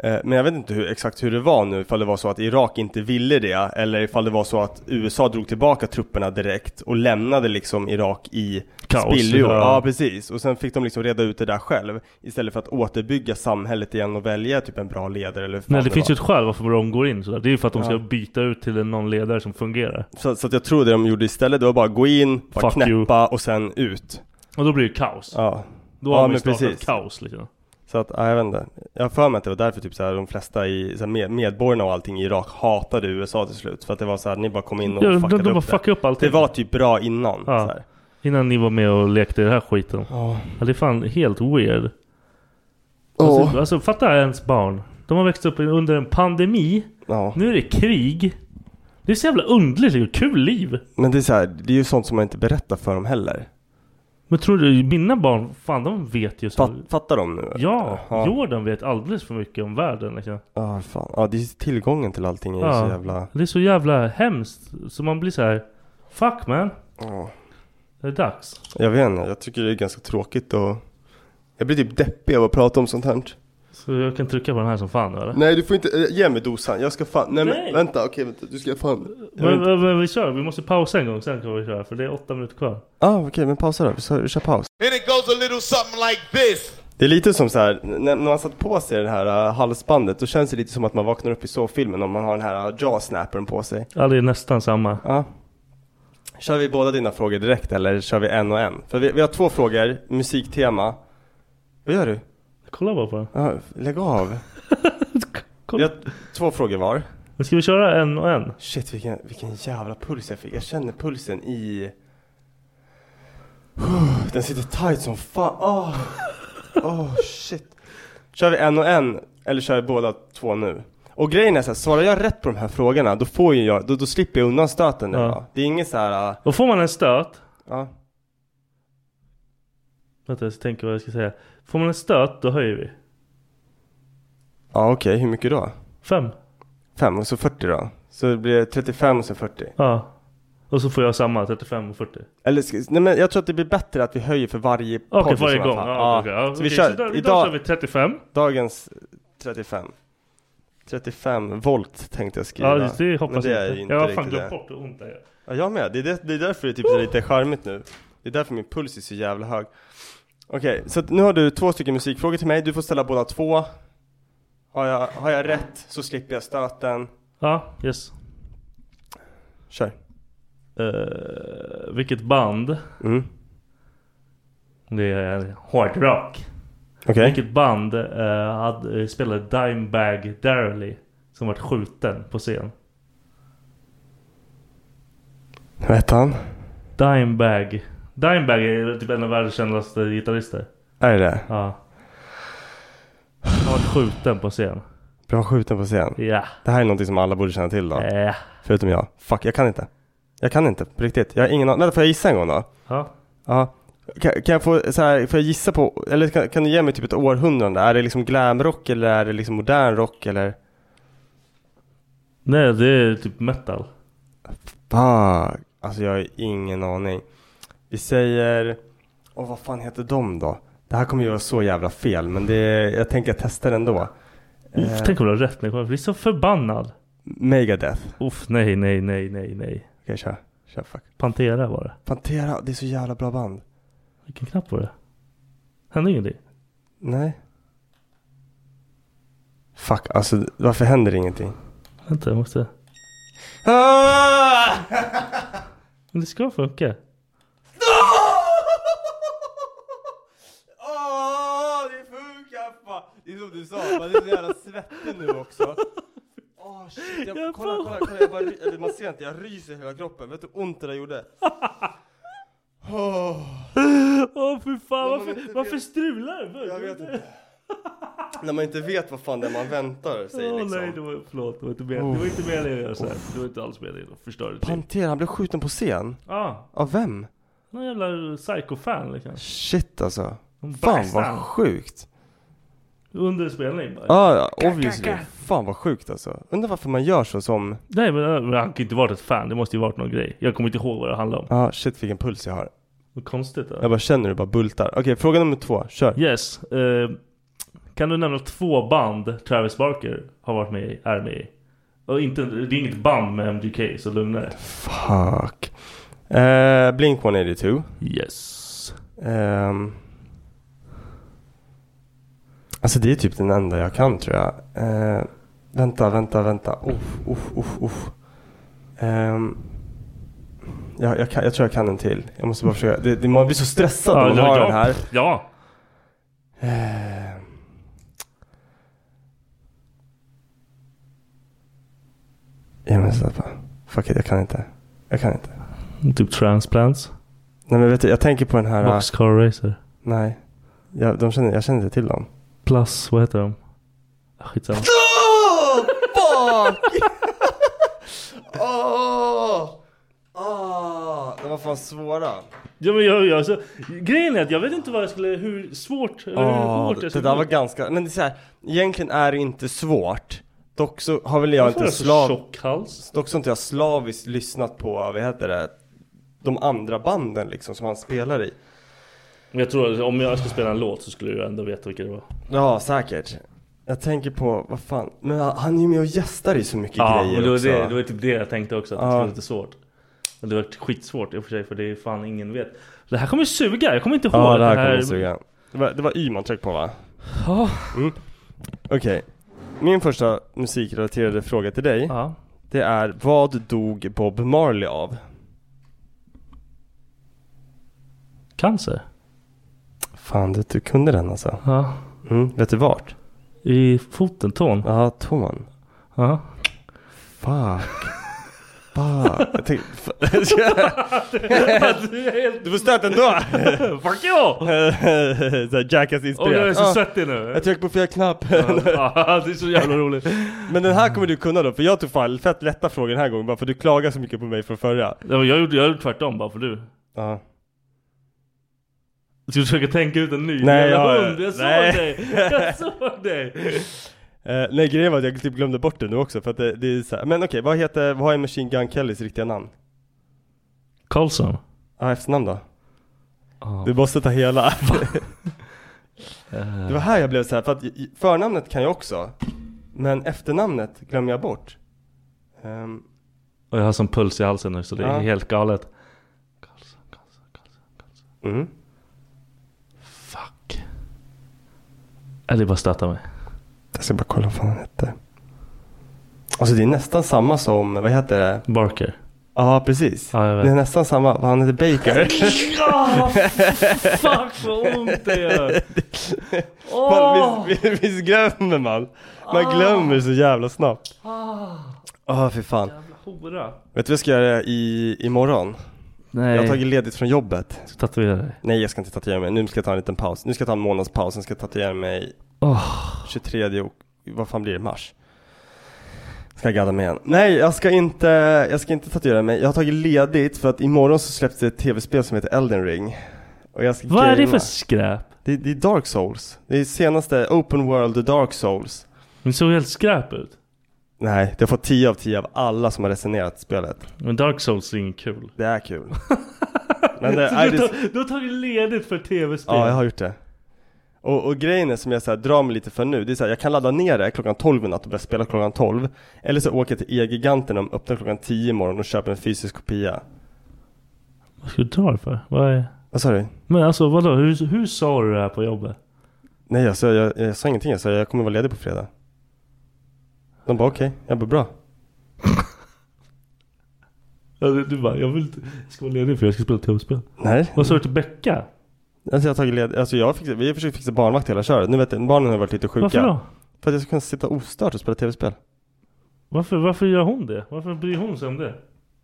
eh, Men jag vet inte hur, exakt hur det var nu, ifall det var så att Irak inte ville det eller ifall det var så att USA drog tillbaka trupperna direkt och lämnade liksom Irak i
Kaos,
spillror.
ja.
Ja. precis. Och sen fick de liksom reda ut det där själv istället för att återbygga samhället igen och välja typ en bra ledare eller hur fan
Nej det finns ju
var.
ett skäl varför de går in sådär. Det är ju för att de ska
Ja.
byta ut till en- någon ledare som fungerar.
så, så att jag tror det de gjorde istället, det var bara gå in, bara
Fuck
knäppa
you.
och sen ut.
Och då blir det kaos.
Ja.
Då
ja,
har man ju
men
startat
precis.
kaos liksom.
Så att, ja, jag vet inte. Jag har för mig att det var därför typ så här, de flesta i, så här, med, medborgarna och allting i Irak hatade USA till slut. För att det var så här, ni bara kom in och
Ja, de- de
fuckade
bara
upp
fuckade upp allting.
Det var typ bra innan.
Ja.
Så här.
Innan ni var med och lekte i den här skiten.
Ja.
det är fan helt weird.
Ja.
Alltså, alltså fatta ens barn. De har växt upp under en pandemi.
Ja.
Nu är det krig. Det är så jävla underligt och kul liv.
Men det är så här, det är ju sånt som man inte berättar för dem heller.
Men tror du, mina barn, fan de vet ju så.
Fat, fattar de nu?
Ja,
Ja.
Jordan vet alldeles för mycket om världen liksom.
Ja, fan. Ja, det är ju tillgången till allting är ju så jävla...
Det är så jävla hemskt. Så man blir så här. Fuck man. Det är dags.
Jag vet inte, jag tycker det är ganska tråkigt och... Jag blir typ deppig av att prata om sånt här.
Så jag kan trycka på den här som fan eller?
Nej du får inte, eh, ge mig dosan, jag ska fan, nej,
Nej.
men vänta okej vänta, du ska fan Jag
Men,
vill inte-
men, men vi kör, vi måste pausa en gång sen kan vi köra för det är åtta minuter kvar.
ah, okej men pausa då, vi kör, vi kör paus
And it goes a little something like this.
Det är lite som så här, när, när man satt på sig det här äh, halsbandet då känns det lite som att man vaknar upp i sovfilmen om man har den här äh, jaw-snappern på sig.
Ja det är nästan samma.
Ja. Kör vi båda dina frågor direkt eller kör vi en och en? För vi, vi har två frågor, musiktema. Vad gör du?
Kolla bara på den.
Ja, lägg av. vi har t- två frågor var.
Men ska vi köra en och en?
Shit vilken, vilken jävla puls jag fick. Jag känner pulsen i... Den sitter tight som fan. Åh, Åh, shit. Kör vi en och en eller kör vi båda två nu? Och grejen är så här, svarar jag rätt på de här frågorna då får ju jag, då, då slipper jag undan stöten nu
Ja.
va? Det är inget så här. ah,
Då får man en stöt.
Ja.
Vänta, jag ska tänka vad jag ska säga. Får man en stöt, då höjer vi.
Ja okej, hur mycket då?
Fem.
Fem och så 40 då? Så det blir 35 och så 40?
Ja. Och så får jag samma, 35 och 40.
Eller, ska- nej men jag tror att det blir bättre att vi höjer för varje
Okej,
podd i
varje
sådana
gång.
fall.
Ja, okej,
Så
ja,
vi
okej,
kör,
så där- idag
idag
kör vi 35.
Dagens 35. 35 volt tänkte jag skriva.
Ja, just det hoppas
men det
jag
är
inte.
ju inte
Jag har fan
riktigt
glömt
det.
bort hur ont det gör.
Ja, jag med. Det är, det, det är därför det typ är lite charmigt nu. Det är därför min puls är så jävla hög. Okej, så att nu har du två stycken musikfrågor till mig. Du får ställa båda två. Har jag, har jag rätt så slipper jag stöten.
Ja, yes.
Kör.
Eh, vilket band?
Mm.
Det är hårdrock.
Okej.
Vilket band eh, hade, eh, spelade Dimebag Darrelly som vart skjuten på scen?
Vad hette han?
Dimebag. Dimebag är typ en av världens kändaste gitarrister.
Är det det?
Ja. Han vart skjuten på scen.
Bra skjuten på scen.
Ja. Eh,
Det här är någonting som alla borde känna till då.
Ja.
Förutom jag. Fuck, jag kan inte. Jag kan inte, på riktigt. Jag har ingen aning. Vänta, Får jag gissa en gång då?
Ja.
Ja. Kan, kan jag få så här, får jag gissa på, eller kan, kan du ge mig typ ett århundrade? Är det liksom glamrock eller är det liksom modern rock eller?
Nej, det är typ metal.
Fuck. Alltså jag har ingen aning. Vi säger... Åh vad fan heter de då? Det här kommer göra så jävla fel men det, jag tänker jag testar ändå. Eh.
Uff, tänk om du har rätt när jag blir så förbannad.
Megadeth.
Uff, nej, nej, nej, nej, nej.
Okej, kör. Kör fuck.
Pantera var det.
Pantera, det är så jävla bra band.
Vilken knapp var det? Hände ingenting?
Nej. Fuck, alltså varför händer ingenting?
Vänta, jag måste...
Ah!
Men det ska funka.
Åh, det funkar fan! Det är som du sa, man är så jävla svettig nu också. Åh shit, jag, kolla, kolla, kolla, jag bara, ry- eller man ser inte, jag ryser i hela kroppen. Vet du hur ont det där gjorde? Åh.
Åh fy fan,
Men man vet
varför,
inte
varför
vet-
strular det?
Jag vet inte. När man inte vet vad fan det är man väntar sig
Åh,
liksom.
nej, det var, förlåt. Det var inte meningen. Det var inte meningen att göra så här. Det var inte alls meningen att förstöra ditt liv.
Pantera, han blev skjuten på scen?
Ja.
Av vem?
Någon jävla psykofan liksom.
Shit alltså.
De
Fan
baxade
vad
han.
sjukt. Ah,
Under spelning bara.
Ja, ja, obviously. Fan vad sjukt alltså. Undrar varför man gör så som...
Nej men men han kan ju inte varit ett fan. Det måste ju varit någon grej. Jag kommer inte ihåg vad det handlade om.
Ja, shit vilken puls jag har.
Vad konstigt det
Jag bara känner hur det bara bultar. Okej, fråga nummer två. Kör.
Yes. eh, kan du nämna två band Travis Barker har varit med i, är med i? Och inte, det är inget band med MGK, så lugna dig.
Fuck. Eh, Blink 182.
Yes.
Ehm. alltså det är typ den enda jag kan tror jag. Eh, vänta, vänta, vänta. Uff, uff, uff, uff. Ehm. jag, jag, kan, jag tror jag kan en till. Jag måste bara försöka. Det, det, man blir så stressad när man har den här.
Ja.
Eh. Ja men släppa. Fuck it, jag kan inte. Jag kan inte.
Typ Transplants.
Nej men vet du, jag tänker på den här...
Boxcar Racer.
Nej. Jag, de känner, jag känner inte till dem.
Plus, vad heter de? Ah, Skitsamma.
Oh, fuck!
Åh! Åh! De var fan svåra.
Ja, men jag, jag, så, grejen är att jag vet inte vad jag skulle, hur svårt, eller hur
Åh,
hårt
det,
jag
det
skulle
där var ganska... Men det är så här, egentligen är det inte svårt. Dock så har väl jag
Varför har
inte
jag så
slav...
tjock hals?
Dock så har inte jag slaviskt lyssnat på, vad heter det? De andra banden liksom som han spelar i.
Men Jag tror att om jag skulle spela en låt så skulle du ändå veta vilka det var.
Ja, säkert. Jag tänker på, vad fan. Men han- han är ju med och gästar i så mycket grejer
och det var,
också.
det, det var typ det jag tänkte också, att det
Ja.
skulle vara lite svårt. Men det var skitsvårt i och för sig, för det är fan ingen vet. Det här kommer suga, jag kommer inte ihåg
Ja, det här kommer jag suga. Det var, det var Y man tryckte på va?
Ja.
Mm. Okej. Min första musikrelaterade fråga till dig. Det är, vad dog Bob Marley av?
Cancer?
Fan, du, du kunde den alltså.
Ja.
Mm. Vet du vart?
I foten, tån?
Ja, tån.
Ja.
Fuck. Fuck. Ja, jag tänkte... du får stöt ändå!
Fuck you!
Såhär Jackass-inspirerat.
Åh, jag är så
Ah,
svettig nu.
Jag tryckte på fel knapp.
Ja, det är så jävla roligt.
Men den här kommer du kunna då, för jag tog fan fett lätta frågor den här gången bara för du klagar så mycket på mig från förra.
Ja, men jag gjorde, jag gjorde tvärtom bara för du.
Ja.
Du försöker tänka ut en ny
Nej,
jävla
jag-
hund. Jag såg
nej.
dig! Jag såg dig!
Eh, nej grejen var att jag typ glömde bort det nu också för att det, det är så här. men okej vad heter, vad är Machine Gun Kellys riktiga namn?
Karlsson?
Ja, efternamn då? Du måste ta hela. det var här jag blev så här, för att i- förnamnet kan jag också. Men efternamnet glömmer jag bort. Ehm,
Och jag har sån puls i halsen nu så det är
Ja.
helt galet.
Mm.
Fuck. Eller det är bara att stöta mig.
jag ska bara kolla vad han hette. Alltså det är nästan samma som, vad heter det?
Barker.
Ja, precis.
jag vet.
det är nästan samma, vad han heter Baker.
Ja, fuck vad ont det gör!
Man, visst, visst, visst glömmer man? Man
Ah.
glömmer så jävla snabbt.
Ah,
Åh, fy fan.
hora.
Vet du vad jag ska göra i, imorgon?
Nej.
Jag har tagit ledigt från jobbet.
Ska du tatuera dig?
Nej jag ska inte tatuera mig, nu ska jag ta en liten paus. Nu ska jag ta en månads paus, sen ska jag tatuera mig
Åh.
23 och, vad fan blir det, mars? Ska jag gadda mig igen? Nej jag ska inte, jag ska inte tatuera mig. Jag har tagit ledigt för att imorgon så släpps det ett tv-spel som heter Elden Ring. Och jag ska
Vad är det
gamea.
för skräp?
Det, det är Dark Souls. Det är senaste Open World Dark Souls.
Det såg helt skräp ut.
Nej, det har fått 10 av 10 av alla som har recenserat spelet.
Men Dark Souls är inget kul.
Det är kul. Men det,
Så
nej,
du,
det-
tar, du har tagit ledigt för tv-spel?
Ja, jag har gjort det. Och, och grejen är som jag så här, drar mig lite för nu, det är så här, jag kan ladda ner det klockan 12 i natt och börja spela klockan 12. Eller så åker jag till E-giganten, de öppnar klockan 10 imorgon och köper en fysisk kopia.
Vad ska du ta det för? Vad är...
Vad sa du?
Men alltså vadå? Hur, hur sa du det här på jobbet?
Nej, alltså, jag, jag, jag sa ingenting, jag sa jag kommer vara ledig på fredag. De bara okej, jag bara bra.
Alltså, du bara, jag vill inte... Jag ska vara ledig för jag ska spela tv-spel.
Nej.
Vad sa du till Becka?
Alltså jag har tagit led, alltså jag fixar, vi har försökt fixa barnvakt hela köret. Nu vet jag, barnen har varit lite sjuka.
Varför då?
För att jag ska kunna sitta ostört och spela tv-spel.
Varför, varför gör hon det? Varför bryr hon sig om det?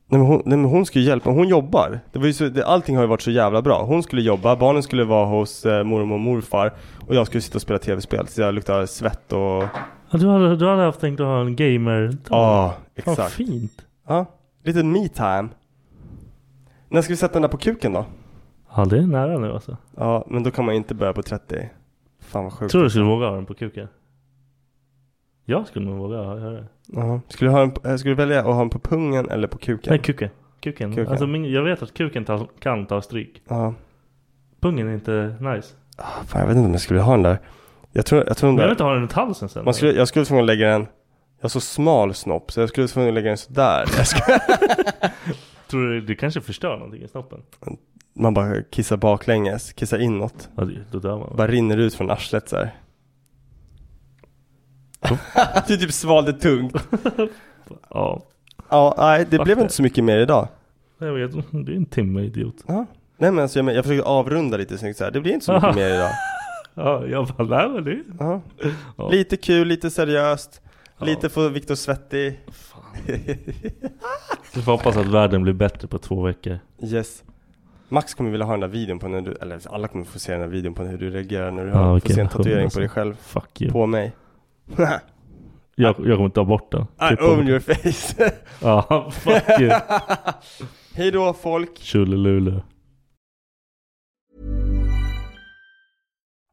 Nej men, hon, nej men hon skulle ju hjälpa, hon jobbar. Det var ju så, det, allting har ju varit så jävla bra. Hon skulle jobba, barnen skulle vara hos eh, mormor och morfar och jag skulle sitta och spela tv-spel så jag luktade svett och...
Ja, du, hade, du hade haft tänkt att ha en gamer
Ja,
Vad
exakt.
fint.
Ja, lite me time. När ska vi sätta den där på kuken då?
Ja det är nära nu alltså.
Ja, men då kan man ju inte börja på 30. Fan vad sjukt.
Tror du skulle våga ha den på kuken? Jag skulle nog våga ha göra det.
Ja. Skulle, du ha en, på- eh, skulle du välja att ha den på pungen eller på kuken?
Nej kuken. Kuken.
Kuken.
Alltså min, jag vet att kuken ta, kan ta stryk.
Ja. Ah,
Pungen är inte nice.
Fan, jag vet inte om jag skulle ha den där. Jag tror, jag tror den
Men jag
där...
vill inte ha den runt halsen sen.
Man skulle, jag skulle tvungen att lägga den, jag har så smal snopp så jag skulle tvungen att lägga den sådär. Jag ska,
Tror du det kanske förstör någonting i snoppen?
man bara kissar baklänges, kissar inåt.
Ja, det- då dör man.
Bara rinner ut från arslet såhär. du typ svalde tungt.
Ja.
Ja, nej det
Fuck
blev
det.
inte så mycket mer idag.
Jag vet, det är en timme idiot.
Ja. Nej men alltså jag, men- jag försökte avrunda lite snyggt såhär, det blir inte så mycket mer idag.
Ja, jag bara, nej men det...
Ja.
Ja.
Lite kul, lite seriöst, lite för Viktor svettig.
Vi får hoppas att världen blir bättre på två veckor.
Yes. Max kommer vilja ha den där videon på när du, eller alla kommer få se den där videon på hur du reagerar när du
Ja,
har, får
vilken
se en
hund
tatuering
alltså.
på dig själv.
Fuck you.
På mig.
Jag, jag kommer ta bort den.
I
Klippa bort
own
den.
your face.
Ja, fuck you.
Hej då folk.
Tjolilulu.